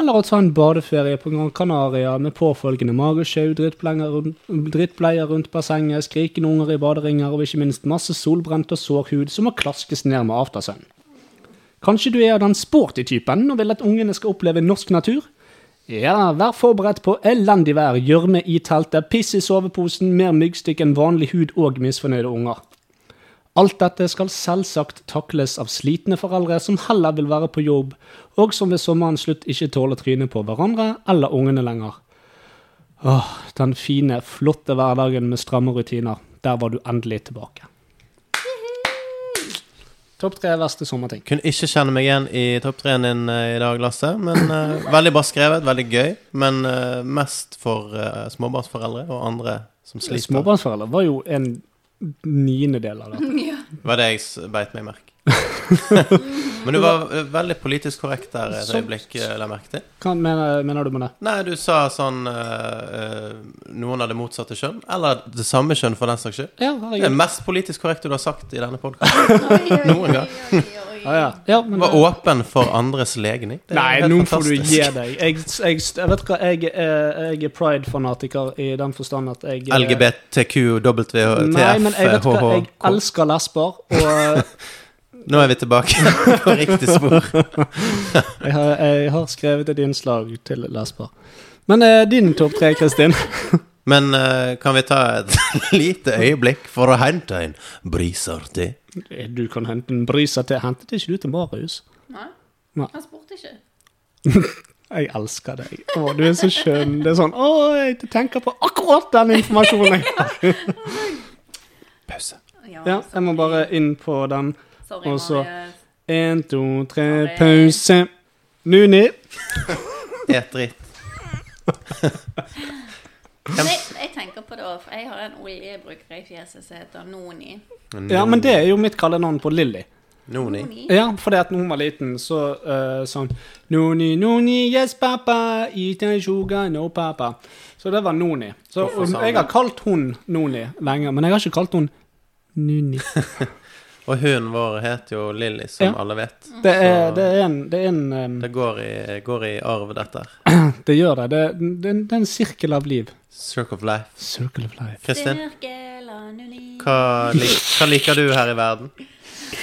B: eller å ta en badeferie på Gran Canaria med påfølgende magesjau, drittbleier rundt- drittbleier rundt bassenget, skrikende unger i baderinger og ikke minst masse solbrent og sårhud som må klaskes ned med aftersun. Kanskje du er av den sporty typen og vil at ungene skal oppleve norsk natur? Ja, vær forberedt på elendig vær, gjørme i teltet, piss i soveposen, mer myggstikk enn vanlig hud og misfornøyde unger. Alt dette skal selvsagt takles av slitne foreldre som heller vil være på jobb, og som ved sommerens slutt ikke tåler trynet på hverandre eller ungene lenger. Åh, den fine, flotte hverdagen med stramme rutiner. Der var du endelig tilbake. Topp tre verste sommerting.
C: Kunne ikke kjenne meg igjen i topp treen din eh, i dag, Lasse. Men eh, veldig bra skrevet, veldig gøy. Men eh, mest for eh, småbarnsforeldre og andre som sliter.
B: Småbarnsforeldre var jo en niendedel av det.
C: Var det jeg s- beit meg merke. men du var eh, veldig politisk korrekt der et
B: Som-
C: øyeblikk, eh, la jeg merke til.
B: Hva mener, mener du med det?
C: Nei, du sa sånn eh, eh, noen av det motsatte kjønn. Eller det samme kjønn, for den saks skyld.
B: Ja,
C: Det er
B: herregud.
C: det mest politisk korrekte du har sagt i denne podkasten. Noen gang.
B: Ah, Ja, ja. ja men, eh,
C: Var åpen for andres legning. Det er
B: Nei,
C: helt
B: nå får du
C: fantastisk.
B: gi deg. Jeg, jeg, jeg vet hva, jeg er, jeg er pride-fanatiker i den forstand at jeg eh, er- Nei, men jeg vet hva, jeg
C: LGBTQWTFHH.
B: elsker lesber, og eh, jeg
C: Nå er vi tilbake på riktig spor.
B: har, jeg har skrevet et innslag til lesber. Men eh, din topp tre, Kristin?
C: Men eh, kan vi ta et lite øyeblikk for å hente en brisartig?
B: Du kan hente en bryser til. Hentet ikke du til Marius?
E: Nei.
B: Nei.
E: Han spurte ikke.
B: Jeg elsker deg. Å, du er så skjønn. Det er sånn Å, jeg tenker på akkurat den informasjonen jeg har.
C: pause?
B: Ja, jeg må bare inn på den.
E: Sorry,
B: og så-
E: Marius.
B: Én, to, tre,
E: Sorry.
B: pause. Nuni.
C: Et dritt.
E: Men Jeg, jeg tenker på det også, for jeg har en oljebruker i fjeset som heter Noni.
B: Ja, men det er jo mitt kallenavn på Lilly.
C: Noni.
E: Noni.
B: Ja, fordi at når hun var liten, så uh, sånn Noni, noni, yes pappa, eat a sugar, no pappa. Så det var Noni. Så
C: Hvorfor sa
B: um, jeg
C: hun
B: har kalt hun Noni lenge, men jeg har ikke kalt hun Nuni.
C: Og hunden vår heter jo Lilly, som
B: Ja.
C: alle vet.
B: Det er, det er en, det, er en um,
C: Det går i, går i arv, dette her.
B: det gjør det. Det, det, er en- det er en sirkel av liv.
C: Circle of life.
B: Circle of life.
C: Kristin,
E: Cirkel av Noni.
C: hva, lik, hva liker du her i verden?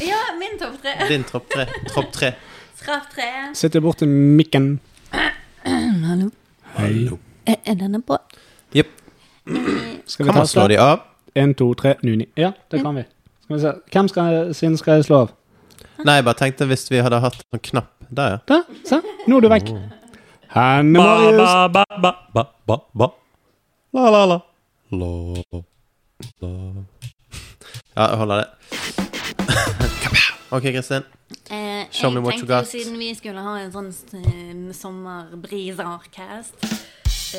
E: Ja, min topp tre.
C: Din tropp tre. Tropp tre.
E: Straff tre.
B: Sitter borti mikken.
E: Hallo.
C: Hallo.
E: Er, er denne på?
C: Jepp.
B: Skal vi
C: Kan
B: ta
C: man slå
B: slag?
C: de av?
B: Én, to, tre, Nuni. Ja, det kan vi. Skal vi se. Hvem skal jeg, sin skal jeg slå av?
C: Nei, jeg bare tenkte hvis vi hadde hatt en knapp der, ja.
B: Der, se. Nå er du vekk. Hanne Marius.
C: La, la, la. La, la. Ja, jeg holder det. OK, Kristin.
E: Eh, jeg
C: Show me what you
E: tenkte
C: got.
E: jo siden vi skulle ha en sånn eh, sommerbrisarcast,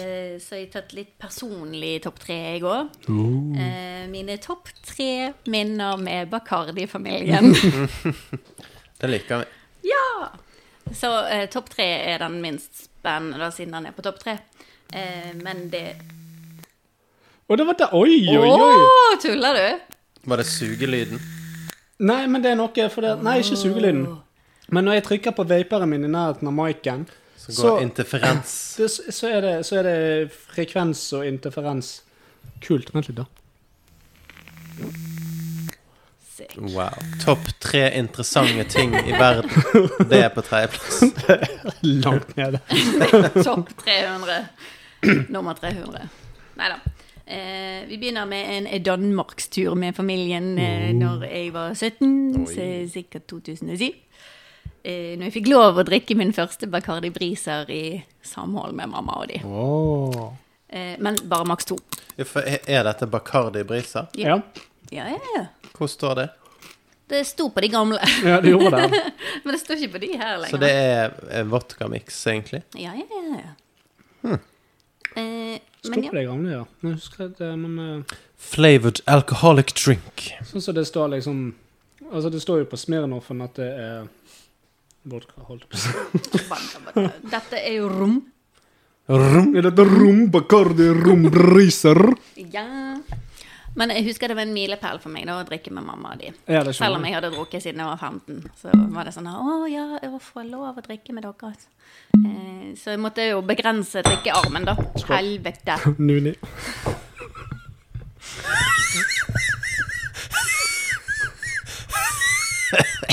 E: eh, så har jeg tatt litt personlig topp tre i går. Eh, mine topp tre minner med Bacardi-familien.
C: Det liker vi.
E: Ja! Så eh, topp tre er den minst spennende, da, siden den er på topp tre. Eh, men det
B: Og det var der. Oi,
E: Å,
B: oi, oi.
E: tuller du?
C: Var det sugelyden?
B: Nei, men det er noe for det, Nei, ikke sugelyden. Men når jeg trykker på vaperen min i nærheten av miken,
C: Som går
B: Så-
C: interferens.
B: det- så, er det, så er det frekvens og interferens. Kult. Vent litt, da.
E: Sick.
C: Wow. Topp tre interessante ting i verden. Det er på tredjeplass.
B: Langt nede.
E: Topp 300. Nummer 300. Nei da. Eh, vi begynner med en danmarkstur med familien
C: Oh.
E: eh, når jeg var 17, så sikkert 2007. Eh, når jeg fikk lov å drikke min første Bacardi Briser i samhold med mamma og de.
B: Oh.
E: Eh, men bare maks to.
C: Ja, for Er er dette Bacardi Brisa?
B: Ja.
E: Ja, ja, ja.
C: Hvor står det?
E: Det sto på de gamle,
B: Ja, det gjorde det.
E: men det står ikke på de her lenger.
C: Så det er eh, vodkamix, egentlig.
E: Ja, ja, ja. ja.
C: Hm.
E: Eh,
B: Sto
E: men ja.
B: på det gamle, ja. Men Jeg husker at, eh, men, eh,
C: Flavored alcoholic drink.
B: sånn som det står liksom Altså, det står jo på Smirnoffen at det er vodka, holdt jeg på å si.
E: banka, banka. Dette er jo rom.
C: Rum.
B: Er dette rom Bacardi rom Breezer?
E: Ja. Men jeg husker det var en milepæl for meg da, å drikke med mamma og de.
B: Ja, det
E: Selv om
B: skjønner jeg.
E: jeg hadde drukket siden jeg var 15, så var det sånn Å ja, jeg får jeg lov å drikke med dere? Eh, Så jeg måtte jo begrense drikkearmen, da. Helvete.
B: Nuni.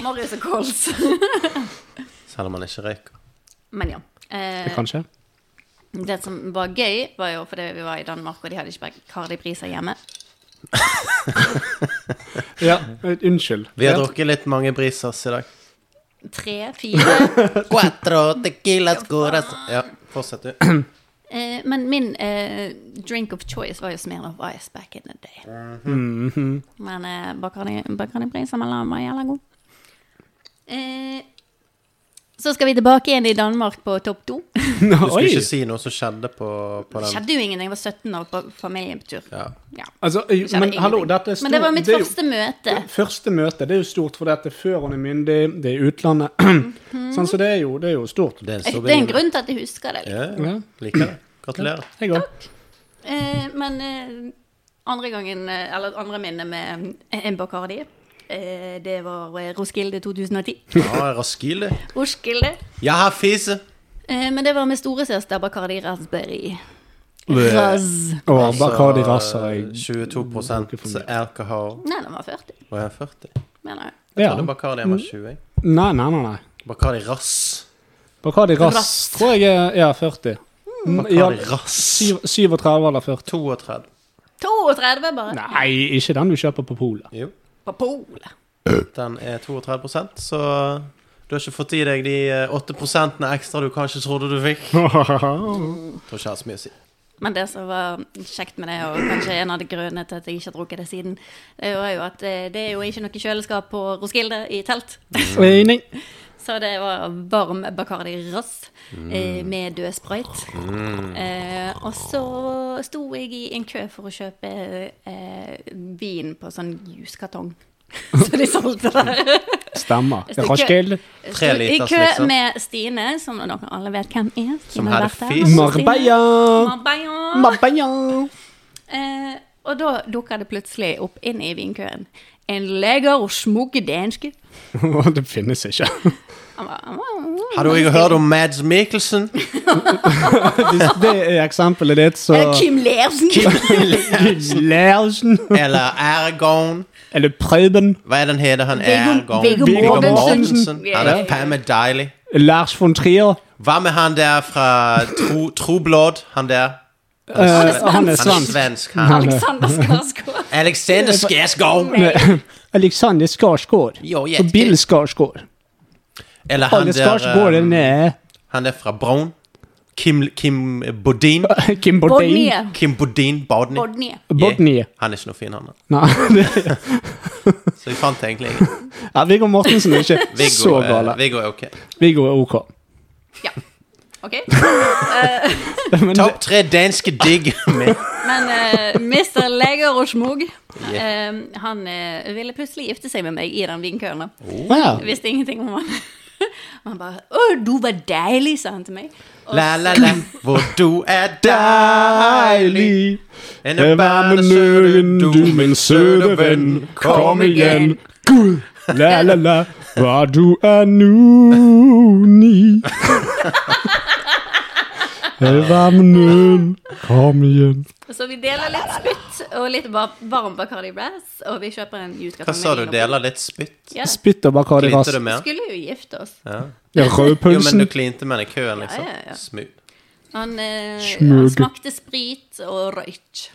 E: Marius og kols.
C: Selv om man ikke røyker.
E: Men ja. Eh,
B: Kanskje?
E: Det som var gøy, var jo fordi vi var i Danmark, og de hadde ikke Bacardi-priser hjemme.
B: Ja, eh, unnskyld.
C: Vi har
B: Ja.
C: drukket litt mange brisas i dag.
E: Tre, fire.
C: Cuatro tequilas curas Ja, fortsett du.
E: Eh, men min eh, drink of choice var jo Smirnoff Ice back in the day.
B: Mhm.
E: Men eh, Bacardi- Bacardi-priser mellom meg jævla god. Eh, så skal vi tilbake igjen i Danmark på topp to.
C: Du skulle
B: Oi!
C: ikke si noe som skjedde på, på
E: Det
C: den.
E: skjedde jo ingenting. Jeg var 17 år på familietur.
C: Ja.
E: Ja,
B: Altså, eh,
E: det skjedde
B: men hallo,
E: ingenting.
B: dette er
E: men det var mitt
B: jo-
E: første møte.
B: Første møte, det er jo stort, for dette er før hun er myndig, det er i utlandet.
E: Mhm.
B: sånn, så det er jo, det er jo stort.
C: Det er en
E: Det er en
C: souvenir.
E: grunn til at jeg husker det.
C: Ja,
B: Ja.
C: liker det. Gratulerer.
B: Jeg òg.
E: Eh, men eh, andre gangen, eh, eller andre minne med eh, en Bacardi, eh, det var eh, Roskilde 2010.
C: Ja, Raskilde.
E: Roskilde.
C: Jeg har fise.
E: Eh, men det var med storesøster Bacardi Raspberry.
C: Bleh.
E: Raz.
B: Og Bacardi Rasa.
C: Altså, 22 alkohol.
E: Nei, den var 40,
C: Var jeg 40?
E: mener jeg.
C: Jeg
B: Ja. Mm.
C: trodde Bacardi var 20. jeg.
B: Nei, nei, nei. nei.
C: Bacardi Rass.
B: Bacardi Rass
E: Rass.
B: tror jeg er ja, 40. Mm, Ja,
C: Bacardi Rass.
B: syv- 37 eller 40.
C: 32.
E: 32 bare.
B: Nei, ikke den du kjøper på polet.
C: Jo,
E: På polet.
C: den er 32 så du har ikke fått i deg de eh, 8 ekstra du kanskje trodde du fikk. Tror ikke jeg har så mye å si.
E: Men det som var kjekt med det, og kanskje en av de grunnene til at jeg ikke har drukket det siden, det var jo at eh, det er jo ikke noe kjøleskap på Roskilde i telt.
B: Nei, nei.
E: Så det var varm Bacardi Rass eh, med død sprite. Eh, og så sto jeg i en kø for å kjøpe eh, vin på sånn juskartong. Så de solgte der.
B: Stemmer.
E: Jeg stikker-
B: Raskilde.
C: Tre
E: I
C: liters,
E: kø
C: liksom.
E: med Stine, som dere alle vet hvem er. Stine
C: Som hadde
E: Berthe.
C: fis.
B: Marbella.
E: Marbella.
B: Marbella.
E: Eh, og da dukker det plutselig opp inn i vinkøen en leger og smugge danske.
B: Det finnes ikke.
E: Han var, han var,
C: Har du ikke hørt om Mads Mikkelsen?
B: Hvis det er eksempelet ditt, så
E: Eh, Kim Lersen!
B: Kim Larsen.
C: Eller Ergon?
B: Eller Preben.
C: Hva er den heter han?
E: Viggo-
C: Ergon?
E: Viggo
B: Mortensen.
C: Han er faen meg deilig.
B: Lars von Trier.
C: Hva med han der fra Tro, Troblod? Han der?
B: Eh, han er
C: Han er
B: svensk.
C: svensk, han.
E: Alexander Skarsgård.
C: Alexander Skarsgård.
B: Alexander Skarsgård.
C: Jo, jeg-
B: Og Bill Skarsgård.
C: Eller han
B: Alle
C: der,
B: Skarsgård
C: eh,
B: er nede.
C: han der fra Brown. Kim, Kim Bodin.
B: Kim Bodin.
E: Bodnia.
C: Kim Bodin Bodny.
E: Bodnia.
B: Bodni.
C: Han er ikke noe fin, han. da.
B: Nei, det-
C: Så vi fant egentlig ingen.
B: ja, Viggo Mortensen er ikke så
C: Viggo, eh,
B: gale.
C: Viggo er ok.
B: Viggo er ok.
E: Ja. OK.
B: Men det,
C: Topp tre danske digg med
E: Men eh, Mr. Leger og Smog,
C: Yeah.
E: eh, han eh, ville plutselig gifte seg med meg i den vinkøen. da.
B: ja.
C: Oh.
E: Jeg Visste ingenting om han. Og han bare 'Å, du var deilig', sa han til meg. Og
C: La la la, hvor du er deilig.
B: Deilig.
C: En
B: Det var med nøyen, du min søde venn. Kom igjen. Gud, la la la, hva du er nuni. Det var med nøyen, kom igjen.
E: Så vi deler litt spytt og litt var varm Bacardi Brass, og vi kjøper en
C: Hva
E: utgave
C: sa du? Deler litt spytt?
E: Ja.
B: Spytter Bacardi Ras.
C: Klinte du med?
E: Skulle jo gifte oss.
B: Ja,
C: Jo, men du
B: Rødpølsen.
C: klinte med den i køen, liksom?
E: Ja, ja, ja.
C: Smooth.
E: Han, eh, han
B: Smug.
E: smakte sprit og røyk.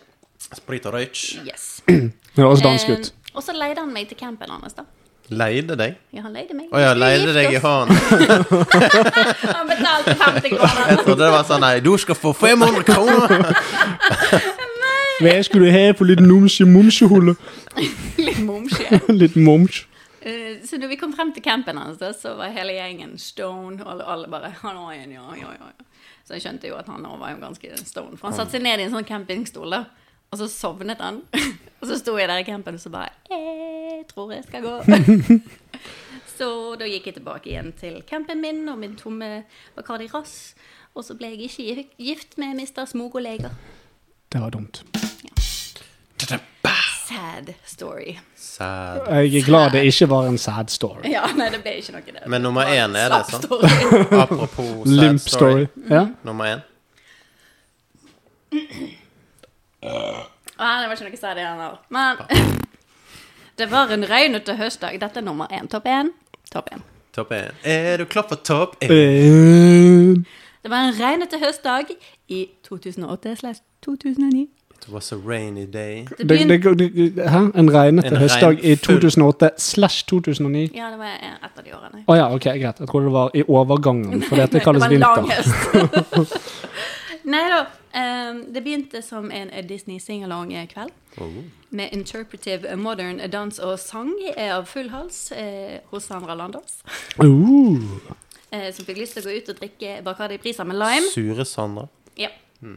C: Sprit og røyk.
E: Yes.
B: Det høres altså dansk ut.
E: Eh, og så leide han meg til campen hans, da.
C: Leide deg?
E: Ja, han leide meg.
C: Å ja,
E: Vi skulle
C: leide
E: gifte
C: deg i
E: oss.
C: hånden.
E: Han betalte 50 kroner.
C: Jeg trodde det var sånn Nei, du skal få 500 kroner!
B: Hva skulle du ha på litt numse-mumsehulle?
E: Litt momsje.
B: Litt mums.
E: Eh, Så når vi kom frem til campen hans, da, så var hele gjengen stone, og alle- alle bare han var en, ja, ja, ja. ja." Så jeg skjønte jo at han også var jo ganske stone. For han satte seg ned i en sånn campingstol, da. Og så sovnet han. Og så sto jeg der i campen og så bare Jeg tror jeg skal gå. Så da gikk jeg tilbake igjen til campen min og min tomme Bacardi Rass. Og så ble jeg ikke gift med Mr. Smogoleger.
B: Det var dumt.
E: Sad story.
C: Sad.
B: Jeg er glad det ikke var en sad story.
E: Ja, nei, det ble ikke noe der.
C: Men nummer én er det, sant?
E: sant?
C: Apropos sad
B: Limp
C: story.
B: story. Ja.
C: Nummer én.
E: Nei, det var ikke noe særlig den der. Men det var en røynete høstdag. Dette er nummer én. Topp én. Topp én.
C: Topp én. Er du klar for topp én?
B: Eh,
E: Det var en regnete høstdag i 2008 slash 2009.
C: It was a rainy day.
E: Det
B: Det, det,
E: begynte
B: det, det, hæ? En
C: En
B: regnete høstdag i
C: regn- full-
B: 2008 slash 2009?
E: Ja, det var et av de årene.
B: Å ja, ok, greit. Jeg tror det var i overgangen, for dette kalles
E: det var en
B: vinter.
E: lang høst. Nei da. ehm, det begynte som en eh, Disney singalong-kveld.
B: Oh.
E: Med interpretive eh, modern dans og sang eh, av full hals eh, hos Sandra Landås.
B: Uh,
E: eh, som fikk lyst til å gå ut og drikke Bacardi Prisa med lime.
C: Sure Sandra.
E: Ja.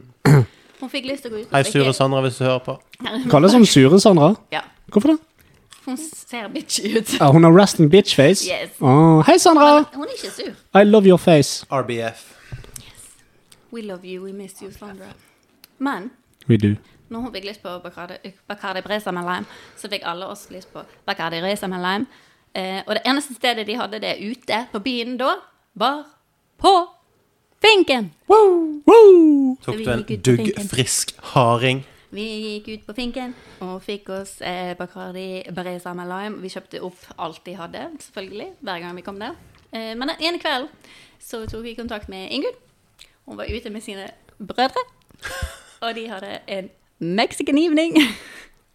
E: Hun fikk lyst til å gå ut og
C: Hei, Sure
E: drikke
C: Sandra, hvis du hører på.
B: kalles hun Sure, Sandra?
E: ja.
B: Hvorfor det?
E: Hun ser bitchy ut.
B: Ja, hun har resting bitch face.
E: Yes.
B: Å, hei, Sandra!
E: Hun er ikke sur.
B: I love your face.
C: RBF.
E: We love you, we miss you, Sandra. Men
B: We do.
E: når hun fikk lyst på Bacardi, Bacardi Bresa med lime, så fikk alle oss lyst på Bacardi Bresa med lime. Eh, og det eneste stedet de hadde det ute på byen da, var på Finken.
B: Woo! Woo!
C: Tok
E: vi
C: du en
E: gikk ut på benken.
C: duggfrisk harding?
E: Vi gikk ut på Finken og fikk oss eh, Bacardi Bresa med lime. Vi kjøpte opp alt de hadde, selvfølgelig, hver gang vi kom der. Eh, men den ene kvelden så tok vi kontakt med Ingunn. Hun var ute med sine brødre, og de hadde en Mexican evening.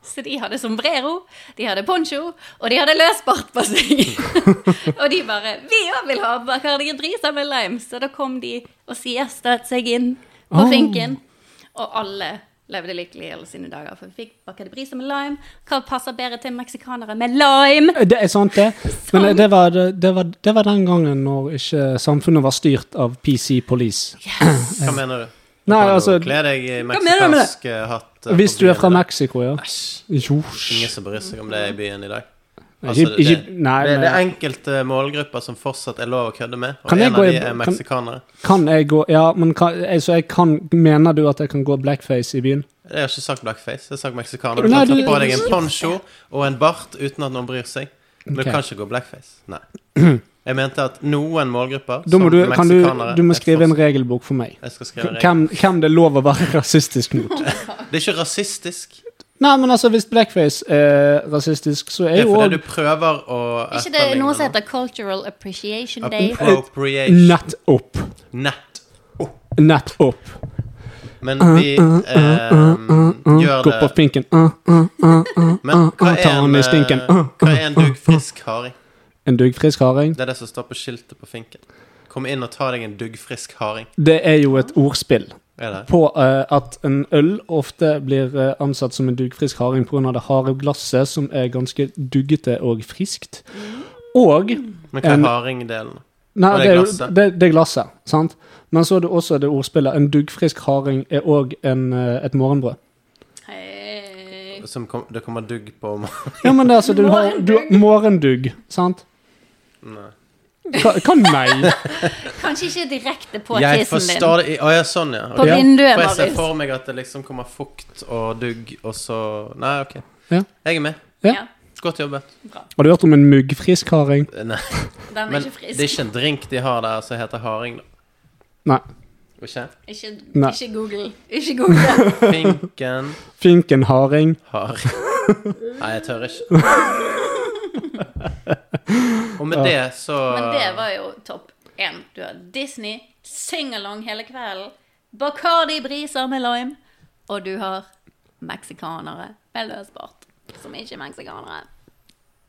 E: Så de hadde sombrero, de hadde poncho, og de hadde løsbart på seg. og de bare 'Vi òg vil ha Bacardi Bresa med lime'. Så da kom de og siestet seg inn på
B: Oh.
E: finken. Og alle levde lykkelig i alle sine dager, for vi fikk Bacardi Brisa med lime. Hva passer bedre til meksikanere med lime?
B: Det er sant, det. Men det var, det, var, det var den gangen når ikke samfunnet var styrt av PC Police.
C: Hva mener du? Du
B: Nei,
C: kan jo
B: altså-
C: Kle deg i
B: mener du med det?
C: meksikansk eh, hatt. eh,
B: Hvis
C: på
B: du er fra
C: byen, da.
B: Mexico, ja.
C: Æsj.
B: Jo.
C: Ingen som bryr seg om det i byen i dag.
B: Nei,
C: Altså,
B: ikke-
C: det,
B: ikke-
C: det,
B: nei,
C: det
B: men-
C: er enkelte målgrupper som fortsatt er lov å kødde med, og
B: Kan jeg
C: en
B: gå
C: av
B: i-
C: de er
B: kan-
C: meksikanere.
B: Kan jeg gå Ja, men kan, jeg, så jeg kan Mener du at jeg kan gå blackface i byen?
C: Jeg har ikke sagt blackface, jeg har sagt meksikaner. Du
B: Nei,
C: kan ta
B: du-
C: på deg en poncho og en bart uten at noen bryr seg. Men
B: Ok.
C: du kan ikke gå blackface. Nei. Jeg mente at noen målgrupper,
B: Da
C: som
B: må du, kan du,
C: meksikanere
B: du må
C: er
B: skrive en
C: fortsatt-
B: regelbok for meg.
C: Jeg skal skrive en regel.
B: Hvem, hvem det er lov å være rasistisk mot.
C: Det er ikke rasistisk.
B: Nei, men altså, hvis blackface er rasistisk, så
C: Det
B: er
C: er
B: jo
C: fordi
B: òg
C: du prøver å
E: Ikke det er noe som
C: etterligne
E: heter Cultural Appreciation
C: noe.
E: Day?
C: Appropriation.
B: nettopp.
C: Nett.
B: Nettopp.
C: Men
B: Uh,
C: vi eh, gjør
B: Gå på
C: det
B: finken. Uh, uh,
C: Men hva
B: ta
C: er
B: han
C: en,
B: i
C: eh,
B: stinken. Uh,
C: hva er en duggfrisk haring?
B: en duggfrisk harding.
C: Det er det som står på skiltet på finken. Kom inn og ta deg en duggfrisk haring.
B: Det er jo et ordspill
C: Er det?
B: på eh, at en øl ofte blir eh, ansatt som en duggfrisk harding pga. det harde glasset, som er ganske duggete og friskt. Og
C: Men hva
B: En-
C: er haringdelen?
B: Nei,
C: Og det
B: det er, jo-
C: glasset.
B: det, det er glasset, sant? Men så er det også det ordspillet. En duggfrisk harding er òg et morgenbrød.
E: Hei.
C: Som kom, det kommer dugg på om-
B: Ja, men det, er altså, du har, du har morgendugg, sant?
C: Nei.
B: Hva, hva nei?
E: Kanskje ikke direkte på
C: Jeg
E: tissen din.
C: forstår det i- Å ja, sånn, ja.
E: På
C: Ok.
E: vinduet,
C: For jeg ser
E: Marius.
C: for meg at det liksom kommer fukt og dugg, og så Nei, OK.
B: Ja.
C: Jeg er med.
B: Ja.
E: Ja,
C: Godt jobbet. Eh,
B: Har du hørt om en muggfrisk harding?
C: Nei,
E: den
C: men
E: er ikke
C: det
E: frisk.
C: er ikke en drink de har der som heter haring, da.
B: Nei.
C: Ikke?
E: Ikke,
B: Nei.
E: ikke Google. Ikke Google.
C: Finken
B: Finken harding.
C: har Nei, jeg tør ikke. Og med det så
E: Men
C: Ah.
E: det var jo topp én. Du har Disney, singalong hele kvelden, Bacardi briser med lime, og du har meksikanere med løsbart. Som ikke er meksikanere.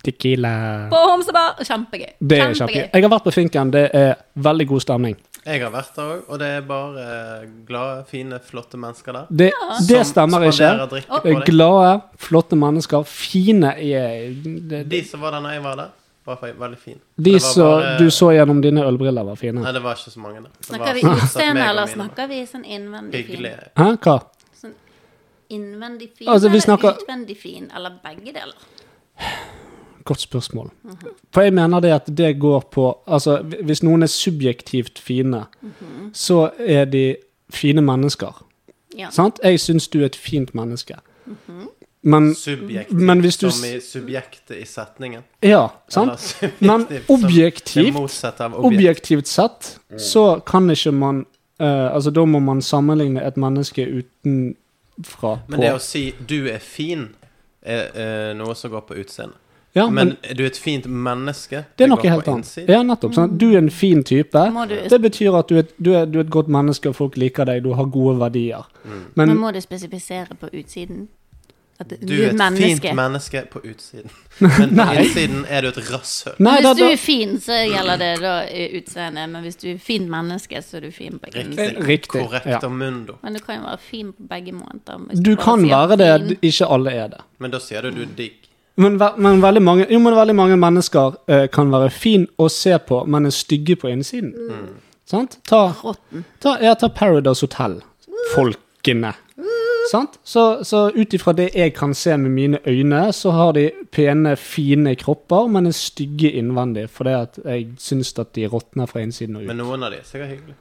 B: Tequila.
E: På homsebar! Kjempegøy.
B: Det er kjempegøy. Jeg har vært på Finken. Det er veldig god stemning.
C: Jeg har vært der òg, og det er bare eh, glade, fine, flotte mennesker der.
B: Det, det stemmer ikke.
C: spanderer drikke på
B: Det er
C: deg.
B: Glade, flotte mennesker. Fine er det,
C: De som var der når jeg var der, var fe- veldig fin.
B: De
C: Det var
B: som
C: bare-
B: du så gjennom dine ølbriller, var fine.
C: Nei, det var ikke så mange. da. Det var
E: Snakker vi
C: fortsatt meg
E: utseende,
C: og
E: eller
C: mine
E: snakker vi sånn innvendig fin?
C: Hyggelige.
B: Hæ, hva?
E: Innvendig fin
B: Altså, vi
E: eller
B: snakker-
E: utvendig fin, eller begge deler?
B: Godt spørsmål. For jeg mener det at det går på Altså, hvi- hvis noen er subjektivt fine, så er de fine mennesker.
E: Ja.
B: Sant? Jeg syns du er et fint menneske. Men
C: Subjektivt,
B: Men hvis du
C: som
B: s-
C: i subjektet i setningen.
B: Ja,
C: Eller
B: sant?
C: subjektivt,
B: Men
C: som Det
B: objektivt
C: motsatte av objektivt. Mm.
B: objektivt sett så kan ikke man eh, Altså, da må man sammenligne et menneske utenfra på
C: Men det å si 'du er fin', er eh, noe som går på utseende.
B: Ja, men,
C: Men du er et fint menneske.
B: det er
C: går
B: noe
C: på
B: helt annet.
C: innsiden.
B: Ja, nettopp. Sant? Du er en fin type.
E: Må du-
B: Det betyr at du er, et- du, er, du er et godt menneske, og folk liker deg, du har gode verdier. Men
E: Men må du spesifisere på utsiden? At
C: Du er et fint menneske på utsiden. Men på
B: Nei.
C: innsiden er du et rasshøl.
B: Nei,
E: hvis
B: da,
E: du
B: da,
E: er fin, så gjelder det da eh, utseende, men hvis du er fint menneske, så er du fin på
C: Riktig.
E: innsiden.
B: Riktig,
C: Korrekt
B: ja.
C: og mundo.
E: Men du kan jo være fin på begge måter. hvis
B: du
E: bare
B: kan
E: sier
B: være det,
E: fin.
B: d- ikke alle er det.
C: Men da sier du du er digg.
B: Men, ve men, veldig, mange, jo, men veldig mange mennesker eh, kan være fin å se på, men er stygge på innsiden. Sant? Ta,
E: Rotten. Mm.
B: ta, ja, ta Paradise Hotel. Folkene. Sant? Så, så ut ifra det jeg kan se med mine øyne, så har de pene, fine kropper, men er stygge innvendig, fordi at jeg syns at de råtner fra innsiden og ut.
C: Men noen av de er sikkert hyggelige.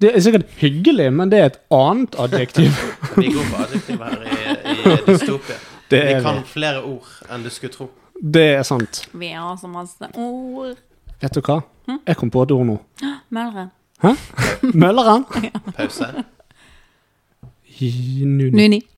B: Det er sikkert hyggelig, men det er et annet adjektiv.
C: Vi går på adjektiv her i, i dystopia.
B: Det
C: Vi
B: er vi.
C: kan flere ord enn du skulle tro.
B: Det er sant.
E: Vi har så masse ord.
B: Vet du hva? Jeg kom på et ord nå.
E: Mølre.
B: Mølleren?
C: Pause.
B: Nuni. Mm.
E: Nuni.